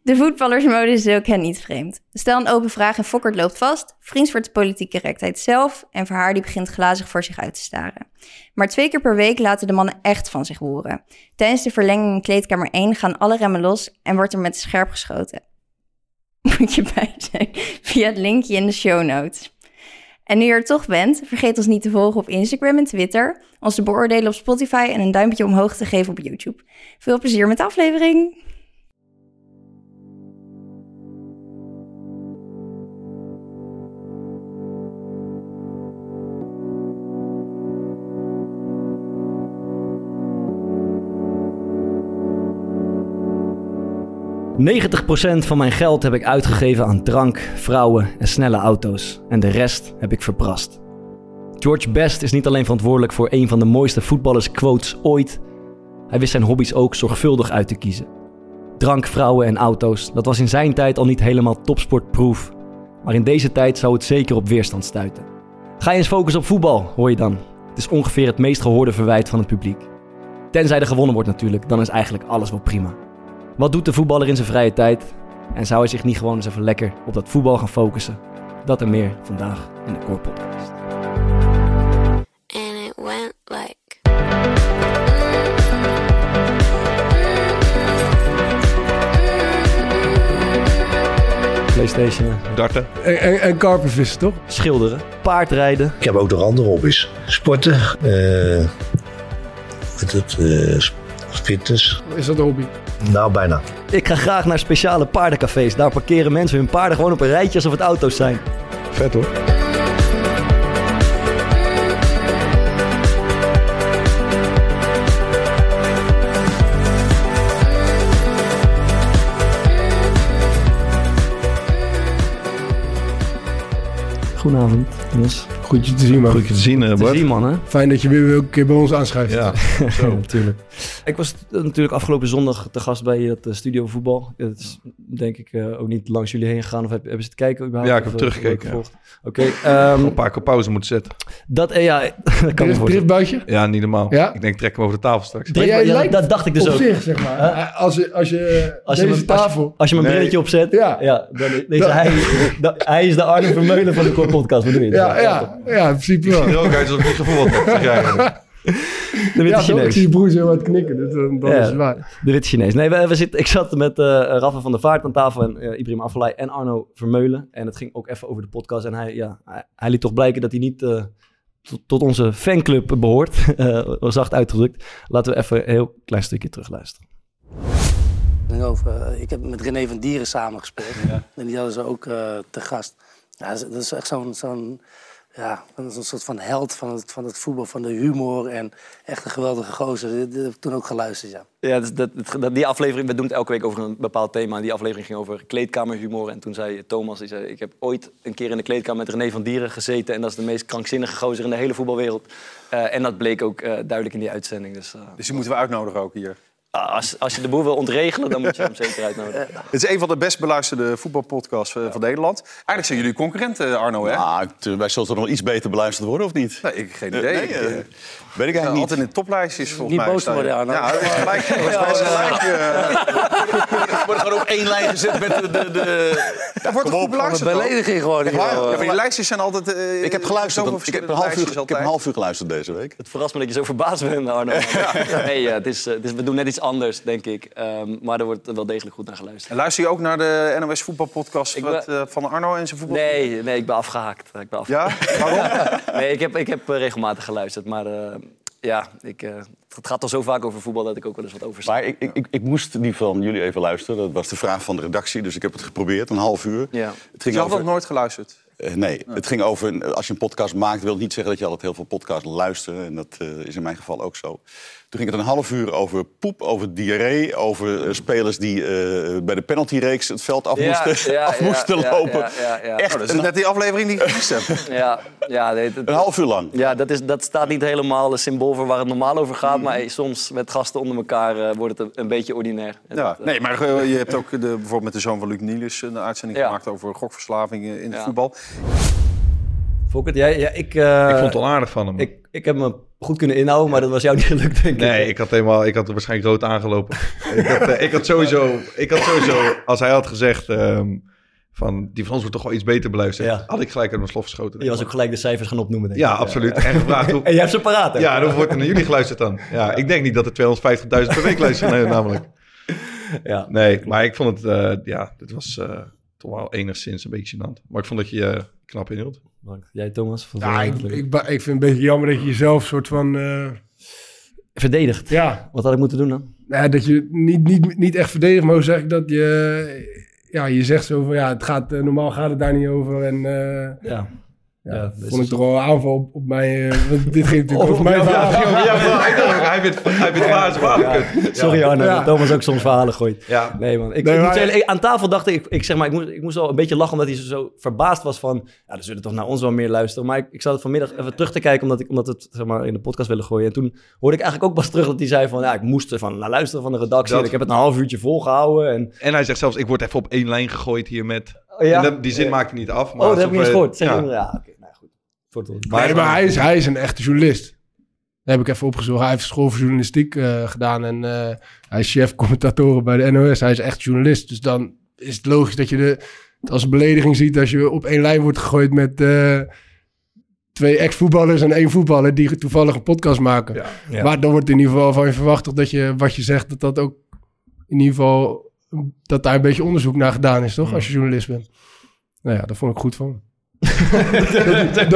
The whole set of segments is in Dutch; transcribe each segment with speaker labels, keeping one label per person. Speaker 1: De voetballersmode is ook hen niet vreemd. Stel een open vraag en Fokkert loopt vast. Vriends wordt de politieke correctheid zelf en Verhaar die begint glazig voor zich uit te staren. Maar twee keer per week laten de mannen echt van zich horen. Tijdens de verlenging in kleedkamer 1 gaan alle remmen los en wordt er met scherp geschoten. Moet je bij zijn via het linkje in de show notes. En nu je er toch bent, vergeet ons niet te volgen op Instagram en Twitter, ons te beoordelen op Spotify en een duimpje omhoog te geven op YouTube. Veel plezier met de aflevering!
Speaker 2: procent van mijn geld heb ik uitgegeven aan drank, vrouwen en snelle auto's. En de rest heb ik verprast. George Best is niet alleen verantwoordelijk voor een van de mooiste voetballersquotes ooit. Hij wist zijn hobby's ook zorgvuldig uit te kiezen. Drank, vrouwen en auto's, dat was in zijn tijd al niet helemaal topsportproof. Maar in deze tijd zou het zeker op weerstand stuiten. Ga je eens focussen op voetbal, hoor je dan. Het is ongeveer het meest gehoorde verwijt van het publiek. Tenzij er gewonnen wordt natuurlijk, dan is eigenlijk alles wel prima. Wat doet de voetballer in zijn vrije tijd? En zou hij zich niet gewoon eens even lekker op dat voetbal gaan focussen? Dat en meer vandaag in de Core Podcast.
Speaker 3: and it went like
Speaker 2: Playstation,
Speaker 4: darten.
Speaker 5: En, en, en karpenvissen, toch?
Speaker 2: schilderen, paardrijden.
Speaker 6: Ik heb ook nog andere hobby's. Sporten. eh met het, eh, sp- fitness.
Speaker 5: Is dat een hobby?
Speaker 6: Nou, bijna.
Speaker 2: Ik ga graag naar speciale paardencafés. Daar parkeren mensen hun paarden gewoon op een rijtje alsof het auto's zijn.
Speaker 4: Vet hoor.
Speaker 2: Goedenavond, Niels.
Speaker 5: Goed je te zien, man.
Speaker 4: Goed je te zien, eh,
Speaker 2: Te
Speaker 4: Bart.
Speaker 2: zien, man, hè?
Speaker 5: Fijn dat je weer weer een keer bij ons aanschuift.
Speaker 4: Ja,
Speaker 2: Ja,
Speaker 4: zo.
Speaker 2: natuurlijk. Ik was t- natuurlijk afgelopen zondag te gast bij dat eh, studio voetbal. Dat is denk ik eh, ook niet langs jullie heen gegaan. Of heb- hebben ze het kijken überhaupt?
Speaker 4: Ja, ik heb
Speaker 2: Of, eh,
Speaker 4: teruggekeken,
Speaker 2: gevolgd? Oké, ehm,
Speaker 4: Een paar keer pauze moeten zetten.
Speaker 2: dat... eh, ja, dat kan me
Speaker 5: Drift-
Speaker 2: voorstellen.
Speaker 5: driftbuitje?
Speaker 4: Ja, niet normaal.
Speaker 5: Ja?
Speaker 4: Ik denk, trek hem over de tafel straks.
Speaker 5: Maar jij
Speaker 2: Ja,
Speaker 5: lijkt
Speaker 2: dat dacht ik dus
Speaker 5: op
Speaker 2: ook.
Speaker 5: zich, zeg maar. Eh, Als, je- als je
Speaker 2: Als je
Speaker 5: deze
Speaker 2: hem-
Speaker 5: tafel...
Speaker 2: Als je mijn
Speaker 4: Nee.
Speaker 2: brilletje opzet, ja.
Speaker 5: Ja.
Speaker 2: dan is deze,
Speaker 5: Dat-
Speaker 2: hij, da- hij is de Arne Vermeulen van de Core Podcast, bedoel je?
Speaker 5: ja, ja, ja, in principe
Speaker 4: Ik
Speaker 5: wel.
Speaker 4: zie er ook uit alsof ik niet gevoel had. zeg jij eigenlijk.
Speaker 2: De witte
Speaker 5: Ja, toch? ik
Speaker 2: Chinees.
Speaker 5: zie je broer zo wat knikken, dus dan, dan
Speaker 2: Ja.
Speaker 5: is het waar.
Speaker 2: De witte Chinees. Nee, we, we zitten, ik zat met eh Rafa van der Vaart aan tafel en eh, Ibrahim Afellay en Arno Vermeulen. En het ging ook even over de podcast. En hij, ja, hij, hij liet toch blijken dat hij niet eh, tot, tot onze fanclub behoort. Eh, zacht uitgedrukt. Laten we even een heel klein stukje terugluisteren.
Speaker 7: Denk Over, eh, ik heb met René van Dieren samengespeeld. En die hadden ze ook eh, te gast. Ja, dat is- dat is echt zo'n zo'n ja, dat is een soort van held van het, van het voetbal, van de humor. En echt een geweldige gozer. Dit, dit heb ik toen ook geluisterd, ja.
Speaker 8: Ja, dus dat, dat- dat- die aflevering, we doen het elke week over een bepaald thema. Die aflevering ging over kleedkamerhumor. En toen zei Thomas, die zei, ik heb ooit een keer in de kleedkamer met René van Dieren gezeten. En dat is de meest krankzinnige gozer in de hele voetbalwereld. Eh, en dat bleek ook eh, duidelijk in die uitzending. Dus eh,
Speaker 9: Dus die moeten we uitnodigen ook hier.
Speaker 8: als, als je de boer wil ontregelen, dan moet je hem zeker uitnodigen.
Speaker 9: Het is een van de best beluisterde voetbalpodcasts eh, van Nederland. Eigenlijk zijn jullie concurrenten, Arno, hè?
Speaker 10: Ah, t- wij zullen toch nog iets beter beluisterd worden, of niet?
Speaker 9: Nee, ik geen
Speaker 10: Eh,
Speaker 9: idee.
Speaker 10: nee,
Speaker 9: Ik,
Speaker 10: eh,
Speaker 9: eh,
Speaker 10: weet ik eigenlijk
Speaker 9: nou,
Speaker 10: niet.
Speaker 9: altijd in de toplijstjes, volgens
Speaker 7: Niet
Speaker 9: mij.
Speaker 7: boos
Speaker 9: staan
Speaker 7: worden,
Speaker 9: jullie.
Speaker 7: Arno.
Speaker 9: Ja, dat is gelijk. dat is best gelijk. eh.
Speaker 10: We worden gewoon op één lijn gezet met de... de, de...
Speaker 9: Dat wordt toch goed beluisterd, hoor?
Speaker 7: Belediging gewoon.
Speaker 9: Ja, maar- ja, maar die lijstjes zijn altijd... eh,
Speaker 10: Ik heb geluisterd.
Speaker 9: zoveel
Speaker 10: want Ik heb, een
Speaker 9: verschillende
Speaker 10: half uur,
Speaker 9: lijstjes
Speaker 10: ik heb een
Speaker 9: altijd.
Speaker 10: half uur geluisterd deze week.
Speaker 8: Het verrast me dat je zo verbaasd bent, Arno. Nee, eh, het is, eh, het is- we doen net iets anders, denk ik. Ehm, maar er wordt wel degelijk goed naar geluisterd.
Speaker 9: En luister je ook naar de NOS voetbalpodcast
Speaker 8: Ik
Speaker 9: wat,
Speaker 8: ben-
Speaker 9: eh, van Arno en zijn voetbal?
Speaker 8: Nee, nee, ik ben afgehaakt. Ik ben afgehaakt.
Speaker 9: Ja? Waarom?
Speaker 8: Nee, ik heb, ik heb eh, regelmatig geluisterd. Maar eh, ja, ik, eh, het gaat al zo vaak over voetbal dat ik ook wel eens wat over
Speaker 10: Maar ik, ik, ik, ik moest die van jullie even luisteren. Dat was de vraag van de redactie. Dus ik heb het geprobeerd, een half uur.
Speaker 8: Ja.
Speaker 10: Het ging
Speaker 9: Je had nog
Speaker 10: over...
Speaker 9: nooit geluisterd.
Speaker 10: eh, nee, het ging over... een- Als je een podcast maakt, wil het niet zeggen dat je altijd heel veel podcasts luistert. En dat eh, is in mijn geval ook zo. Toen ging het een half uur over poep, over diarree... over eh, spelers die eh, bij de penaltyreeks het veld af
Speaker 8: Ja,
Speaker 10: moesten,
Speaker 8: ja,
Speaker 10: af
Speaker 8: ja,
Speaker 10: moesten
Speaker 8: ja,
Speaker 10: lopen.
Speaker 8: ja, ja, ja.
Speaker 10: Echt
Speaker 9: Oh, dat is net die aflevering die ik gemist heb.
Speaker 8: Ja, ja, nee,
Speaker 10: Een
Speaker 8: dat,
Speaker 10: half uur lang.
Speaker 8: ja dat, is, dat staat niet helemaal een symbool voor waar het normaal over gaat. Maar eh, soms met gasten onder elkaar eh, wordt het een, een beetje ordinair. En
Speaker 9: Ja,
Speaker 8: dat, eh,
Speaker 9: nee, maar eh, je hebt ook de, bijvoorbeeld met de zoon van Luc Niels een uitzending
Speaker 8: Ja.
Speaker 9: gemaakt over gokverslaving eh, in het
Speaker 8: Ja.
Speaker 9: voetbal.
Speaker 2: Fokker, jij, ja, ik, eh,
Speaker 4: Ik vond het al aardig van hem.
Speaker 2: ik, Ik heb me goed kunnen inhouden, maar dat was jou niet gelukt, denk ik.
Speaker 4: Nee, ik had, helemaal, ik had er waarschijnlijk rood aangelopen. ik, had, eh, ik, had sowieso, ik had sowieso, als hij had gezegd ehm, van die Frans wordt toch wel iets beter beluisterd,
Speaker 2: Ja.
Speaker 4: had ik gelijk uit mijn slof geschoten.
Speaker 2: Je was ook gelijk de cijfers gaan opnoemen, denk ik.
Speaker 4: Ja, absoluut. En gevraagd hoe...
Speaker 2: En jij hebt ze paraat, hè?
Speaker 4: Ja, dan wordt er naar jullie geluisterd dan. Ja, ik denk niet dat er 250.000 per week luisteren, nee, namelijk.
Speaker 2: Ja.
Speaker 4: Nee, maar ik vond het, eh, ja, dit was eh, toch wel enigszins een beetje gênant. Maar ik vond dat je je knap inhield.
Speaker 2: Bedankt. Jij, Thomas? Vond
Speaker 5: Ja,
Speaker 2: je
Speaker 5: ik,
Speaker 2: het leuk?
Speaker 5: ik, ba- ik vind het een beetje jammer dat je jezelf soort van... eh,
Speaker 2: Verdedigd.
Speaker 5: ja,
Speaker 2: Wat had ik moeten doen dan?
Speaker 5: nou ja, dat je niet, niet, niet echt verdedigt, maar hoe zeg ik dat? Je, ja, je zegt zo van, ja, het gaat, eh, normaal gaat het daar niet over. En eh,
Speaker 2: Ja.
Speaker 5: ja,
Speaker 2: Ja, dus-
Speaker 5: vond ik toch wel een aanval op, op mij. eh, want dit ging natuurlijk over mijn verhaal.
Speaker 4: Ja, maar hij dacht ook, hij bent hij bent waar als waar.
Speaker 2: Sorry Arno,
Speaker 5: Ja.
Speaker 2: dat Thomas ook soms verhalen gooit.
Speaker 4: Ja.
Speaker 2: Nee man, ik,
Speaker 5: Nee,
Speaker 2: ik moet
Speaker 5: maar-
Speaker 2: zeggen, ik- aan tafel dacht ik, ik zeg maar, ik moest, ik moest al een beetje lachen omdat hij zo- zo verbaasd was van, ja, er zullen toch naar ons wel meer luisteren. Maar ik, ik zat vanmiddag even terug te kijken omdat, ik, omdat we het zeg maar, in de podcast willen gooien. En toen hoorde ik eigenlijk ook pas terug dat hij zei van, ja, ik moest ervan naar luisteren van de redactie.
Speaker 4: Dat-
Speaker 2: En ik heb het een half uurtje volgehouden. En,
Speaker 4: En hij zegt zelfs, ik word even op één lijn gegooid hier met...
Speaker 2: oh, ja,
Speaker 4: En dat- die zin maakt hij niet af. Maar
Speaker 2: oh, dat heb ik
Speaker 4: alsof
Speaker 2: niet eens
Speaker 4: we-
Speaker 2: gehoord. Zeg
Speaker 4: ja.
Speaker 2: je- ja, oké, nou goed. Voor het-
Speaker 5: nee, maar hij is, hij is een echte journalist. Dat heb ik even opgezocht. Hij heeft school voor journalistiek eh, gedaan en eh, hij is chef commentatoren bij de NOS. Hij is echt journalist. Dus dan is het logisch dat je de, het als een belediging ziet als je op één lijn wordt gegooid met eh, twee ex-voetballers en één voetballer die toevallig een podcast maken.
Speaker 4: Ja.
Speaker 2: Ja.
Speaker 5: Maar dan wordt in ieder geval van je verwacht toch dat je wat je zegt, dat dat ook in ieder geval dat daar een beetje onderzoek naar gedaan is, toch? Als je journalist bent. Nou ja, daar vond ik goed van. dat,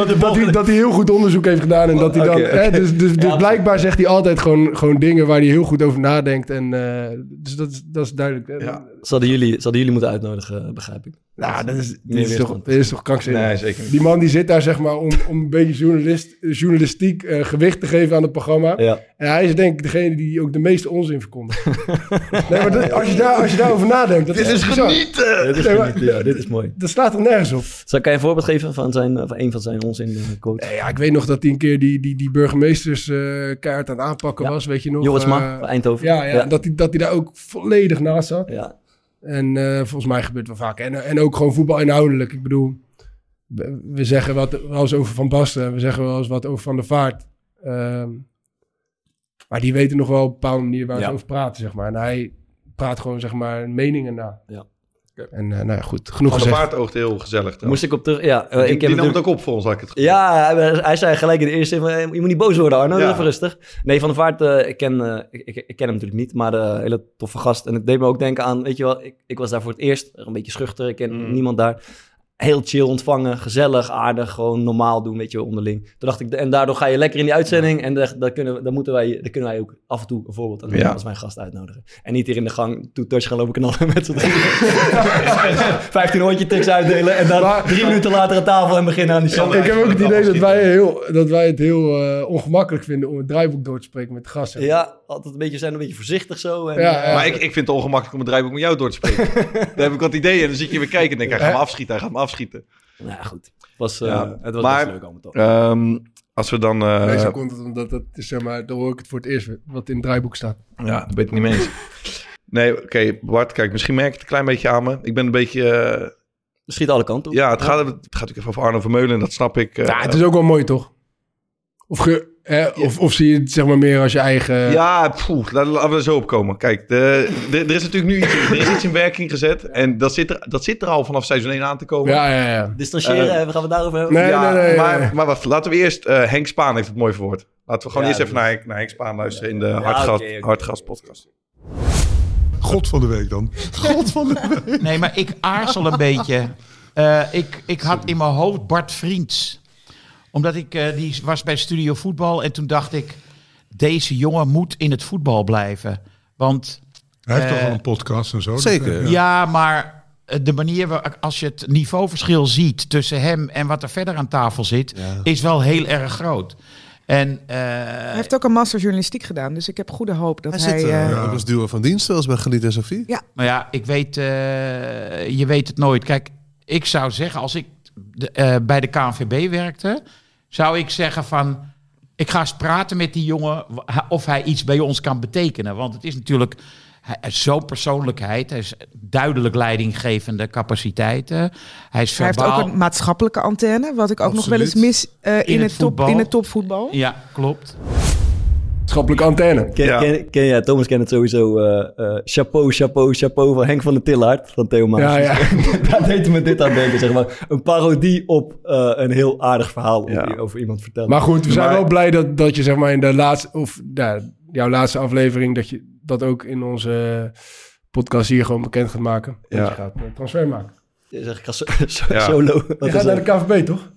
Speaker 5: dat, dat, hij, dat hij heel goed onderzoek heeft gedaan. En dat hij dan,
Speaker 2: Oké, oké.
Speaker 5: Hè, dus, dus, dus
Speaker 2: Ja.
Speaker 5: blijkbaar zegt hij altijd gewoon, gewoon dingen waar hij heel goed over nadenkt. En, eh, dus dat, is- dat is duidelijk. Eh, hè.
Speaker 4: Ja.
Speaker 2: Ze hadden jullie, ze hadden jullie moeten uitnodigen, begrijp ik.
Speaker 5: Nou, dat is,
Speaker 2: Meer
Speaker 5: dit is, toch,
Speaker 2: weerstand.
Speaker 5: dit is toch krankzinnig.
Speaker 4: Nee, zeker niet.
Speaker 5: Die man die zit daar zeg maar om, om een beetje journalist, journalistiek eh, gewicht te geven aan het programma.
Speaker 2: Ja.
Speaker 5: En hij is denk ik degene die ook de meeste onzin verkondigt. nee, maar dat- als, je daar, als je daarover nadenkt, dat is,
Speaker 2: Dit
Speaker 5: bizar.
Speaker 2: is,
Speaker 5: Nee, maar-
Speaker 2: genieten, ja, dit is mooi.
Speaker 5: Dat slaat er nergens op.
Speaker 2: Zal ik je een voorbeeld geven van, zijn, van een van zijn onzin eh, coach?
Speaker 5: Nee, ja, ik weet nog dat hij een keer die, die, die burgemeesters eh, kaart aan het aanpakken
Speaker 2: Ja.
Speaker 5: was, weet je nog.
Speaker 2: Joris
Speaker 5: eh,
Speaker 2: Ma van Eindhoven.
Speaker 5: ja, ja, dat hij dat hij daar ook volledig naast zat.
Speaker 2: Ja.
Speaker 5: En eh, volgens mij gebeurt het wel vaak. En, en ook gewoon voetbal inhoudelijk. Ik bedoel, we, we zeggen wat, wel eens over Van Basten. We zeggen wel eens wat over Van der Vaart. Ehm, maar die weten nog wel op een bepaalde manier waar
Speaker 2: Ja.
Speaker 5: ze over praten, zeg maar. En hij praat gewoon, zeg maar, meningen na.
Speaker 2: Ja.
Speaker 5: En eh, nou ja, goed. Genoeg
Speaker 4: Van de
Speaker 5: gezegd.
Speaker 4: Vaart oogt heel gezellig.
Speaker 2: Moest ik op terug... Ja, eh,
Speaker 4: die
Speaker 2: ik heb
Speaker 4: die nam het
Speaker 2: natuurlijk-
Speaker 4: ook op voor ons, had ik het gevoel.
Speaker 2: Ja, hij, hij zei gelijk in de eerste zin van, eh, je moet niet boos worden Arno,
Speaker 4: Ja.
Speaker 2: even rustig. Nee, Van der Vaart, eh, ik, ken, eh, ik, ik, ik ken hem natuurlijk niet, maar een hele toffe gast. En het deed me ook denken aan, weet je wel, ik, ik was daar voor het eerst, een beetje schuchter, ik ken
Speaker 4: Mm.
Speaker 2: niemand daar. Heel chill ontvangen, gezellig, aardig, gewoon normaal doen, weet je wel, onderling. Toen dacht ik, en daardoor ga je lekker in die uitzending en daar, daar, kunnen, we- daar, moeten wij, daar kunnen wij ook af en toe een voorbeeld aan doen
Speaker 4: Ja.
Speaker 2: als wij een gast uitnodigen. En niet hier in de gang, toe touch gaan lopen knallen met z'n drieën. 15 hondje tricks uitdelen en dan
Speaker 5: Maar-
Speaker 2: drie minuten later aan tafel en beginnen aan die show.
Speaker 5: Ik heb ook het idee dat wij, heel, dat wij het heel eh, ongemakkelijk vinden om het draaiboek door te spreken met de gasten.
Speaker 2: Ja, altijd een beetje zijn, een beetje voorzichtig zo. En, eh,
Speaker 5: Ja, ja.
Speaker 4: Maar ik, ik vind het ongemakkelijk om het draaiboek met jou door te spreken. Daar heb ik wat ideeën en dan zit je weer kijken en denk ik,
Speaker 5: Eh.
Speaker 4: hij gaat me afschieten, hij gaat me afschieten.
Speaker 2: Nou ja, goed. Het was, eh,
Speaker 4: Ja,
Speaker 2: het was
Speaker 4: maar-
Speaker 2: best leuk allemaal toch.
Speaker 4: Ehm, als we dan... eh,
Speaker 5: Meestal komt het omdat dat is, zeg maar, dan hoor ik het voor het eerst wat in het draaiboek staat.
Speaker 4: Ja, dat weet ik niet mee eens. Nee, oké, Bart, kijk, misschien merk je het een klein beetje aan me. Ik ben een beetje... eh,
Speaker 2: Schiet alle kanten op.
Speaker 4: ja, het gaat, het gaat natuurlijk even over Arno Vermeulen, dat snap ik. eh.
Speaker 5: Ja, het is ook wel mooi, toch? Of, ge, hè, of, of zie je het zeg maar meer als je eigen...
Speaker 4: Ja, poeh, laten we- laten we er zo op komen. Kijk, de, de- er is natuurlijk nu iets, er is iets in werking gezet. En dat zit, er, dat zit er al vanaf seizoen 1 aan te komen.
Speaker 5: ja, ja. ja.
Speaker 2: Distancieren,
Speaker 4: Eh,
Speaker 2: eh, we gaan we daarover hebben.
Speaker 5: Nee,
Speaker 4: ja,
Speaker 5: nee, nee,
Speaker 4: maar,
Speaker 5: nee.
Speaker 4: maar wacht, laten we eerst... eh, Henk Spaan heeft het mooi verwoord. Laten we gewoon
Speaker 2: Ja,
Speaker 4: eerst even
Speaker 2: dat-
Speaker 4: naar, Henk- naar Henk Spaan luisteren in de
Speaker 2: Ja,
Speaker 4: Hartgas,
Speaker 2: oké, oké.
Speaker 4: Hartgas podcast.
Speaker 3: God van de week dan. God van de week. Nee, maar ik aarzel een beetje. Eh, ik, ik had in mijn hoofd Bart Vriends. Omdat ik, eh, die was bij Studio Voetbal en toen dacht ik... Deze jongen moet in het voetbal blijven. Want
Speaker 11: Hij heeft
Speaker 3: Eh,
Speaker 11: toch al een podcast en zo?
Speaker 9: zeker,
Speaker 11: Dat, eh,
Speaker 9: ja.
Speaker 3: ja, maar eh, de manier waar, als je het niveauverschil ziet tussen hem en wat er verder aan tafel zit, is wel heel erg groot. En eh,
Speaker 12: Hij heeft ook een master journalistiek gedaan, dus ik heb goede hoop dat
Speaker 11: Hij
Speaker 12: hij...
Speaker 11: zit eh,
Speaker 12: eh,
Speaker 11: ja. als duo van dienst zelfs bij Geliet en Sophie.
Speaker 3: Maar ja, ik weet, eh, je weet het nooit. Kijk, ik zou zeggen, als ik de- eh, bij de KNVB werkte, zou ik zeggen van, ik ga eens praten met die jongen wa- of hij iets bij ons kan betekenen. Want het is natuurlijk, Hij hij is zo'n persoonlijkheid. Hij is duidelijk leidinggevende capaciteiten. Hij is
Speaker 12: Hij heeft
Speaker 3: verbaal-
Speaker 12: ook een maatschappelijke antenne, wat ik ook nog wel eens
Speaker 3: Absoluut.
Speaker 12: mis eh, in,
Speaker 3: In
Speaker 12: het
Speaker 3: het
Speaker 12: top,
Speaker 3: voetbal.
Speaker 12: in het topvoetbal.
Speaker 3: Ja, klopt.
Speaker 5: Maatschappelijke antenne.
Speaker 2: Ken, ken, ken, ja, Thomas kent het sowieso. eh, eh, chapeau, chapeau, chapeau van Henk van de Tillaert van Theo Maas.
Speaker 5: Ja, ja.
Speaker 2: Daar deed me dit aan denken, zeg maar. Een parodie op eh, een heel aardig verhaal om- over iemand vertellen.
Speaker 5: Maar goed, we zijn
Speaker 2: Maar-
Speaker 5: wel blij dat, dat je zeg maar in de laatste, of nou, jouw laatste aflevering, dat je dat ook in onze podcast hier gewoon bekend gaat maken. Dat
Speaker 2: Ja.
Speaker 5: je gaat eh, transfer maken.
Speaker 2: Je zegt, ik ga so- so- solo.
Speaker 5: Je gaat naar de KVB, toch?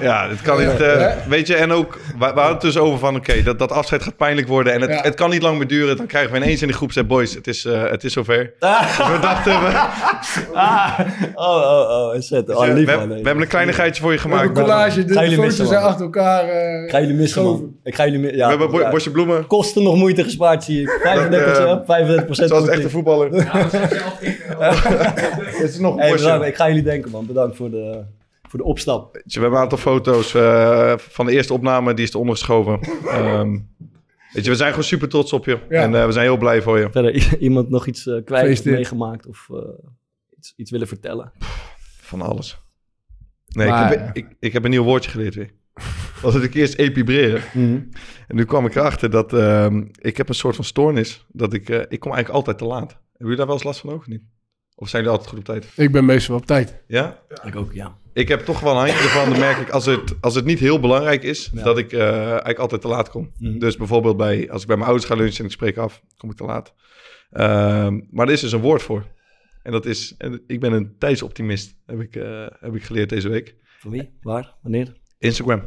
Speaker 4: Ja, het kan echt. eh, weet je, en ook, we, we hadden het dus over van, oké, dat, dat afscheid gaat pijnlijk worden. En het,
Speaker 5: Ja.
Speaker 4: het kan niet lang meer duren. Dan krijgen we ineens in de groep, zei boys, het is, eh, het is zover. We dachten, we,
Speaker 2: Oh, oh, oh. Zet. Oh,
Speaker 4: we,
Speaker 2: lief,
Speaker 4: hebben-
Speaker 2: man.
Speaker 4: we hebben een kleinigheidje voor je
Speaker 5: We hebben
Speaker 4: gemaakt.
Speaker 5: een collage, de
Speaker 2: Ga jullie
Speaker 5: foto's
Speaker 2: missen,
Speaker 5: zijn
Speaker 2: man.
Speaker 5: achter elkaar. eh,
Speaker 2: Ga jullie missen,
Speaker 5: geschoven.
Speaker 2: man. Ik ga jullie mi- ja,
Speaker 4: we hebben bo- bosje bloemen.
Speaker 2: Kosten nog moeite gespaard, zie ik. 35%,
Speaker 4: Dat,
Speaker 2: up, 35
Speaker 4: Zoals echte voetballer.
Speaker 2: Het
Speaker 4: is nog een
Speaker 2: hey,
Speaker 4: bosje.
Speaker 2: bedankt. Ik ga jullie denken, man. Bedankt voor de, voor de opstap.
Speaker 4: Weet je, Dus We hebben een aantal foto's eh, van de eerste opname, die is eronder geschoven. Ehm, weet je, we zijn gewoon super trots op je.
Speaker 2: Ja.
Speaker 4: En eh, we zijn heel blij voor je.
Speaker 2: Verder, i- iemand nog iets eh, kwijt of
Speaker 4: Gefeliciteerd.
Speaker 2: meegemaakt of eh, iets, iets willen vertellen?
Speaker 4: Van alles. Nee,
Speaker 2: Maar-
Speaker 4: ik, heb, ik, ik heb een nieuw woordje geleerd weer. Was het ik eerst epibreren. En nu kwam ik erachter dat ehm, ik heb een soort van stoornis. Dat ik, eh, ik kom eigenlijk altijd te laat. Hebben jullie daar wel eens last van ook of niet? Of zijn jullie altijd goed op tijd?
Speaker 5: Ik ben meestal op tijd.
Speaker 4: Ja?
Speaker 2: Ik ook, ja.
Speaker 4: Ik heb toch wel een handje ervan. Dan merk ik als het, als het niet heel belangrijk is, dat ik eh, eigenlijk altijd te laat kom.
Speaker 2: Mhm.
Speaker 4: Dus bijvoorbeeld bij, als ik bij mijn ouders ga lunchen en ik spreek af, kom ik te laat. Ehm, maar er is dus een woord voor. En dat is, en ik ben een tijdsoptimist, heb ik, eh, heb ik geleerd deze week.
Speaker 2: Van wie? Waar? Wanneer?
Speaker 4: Instagram.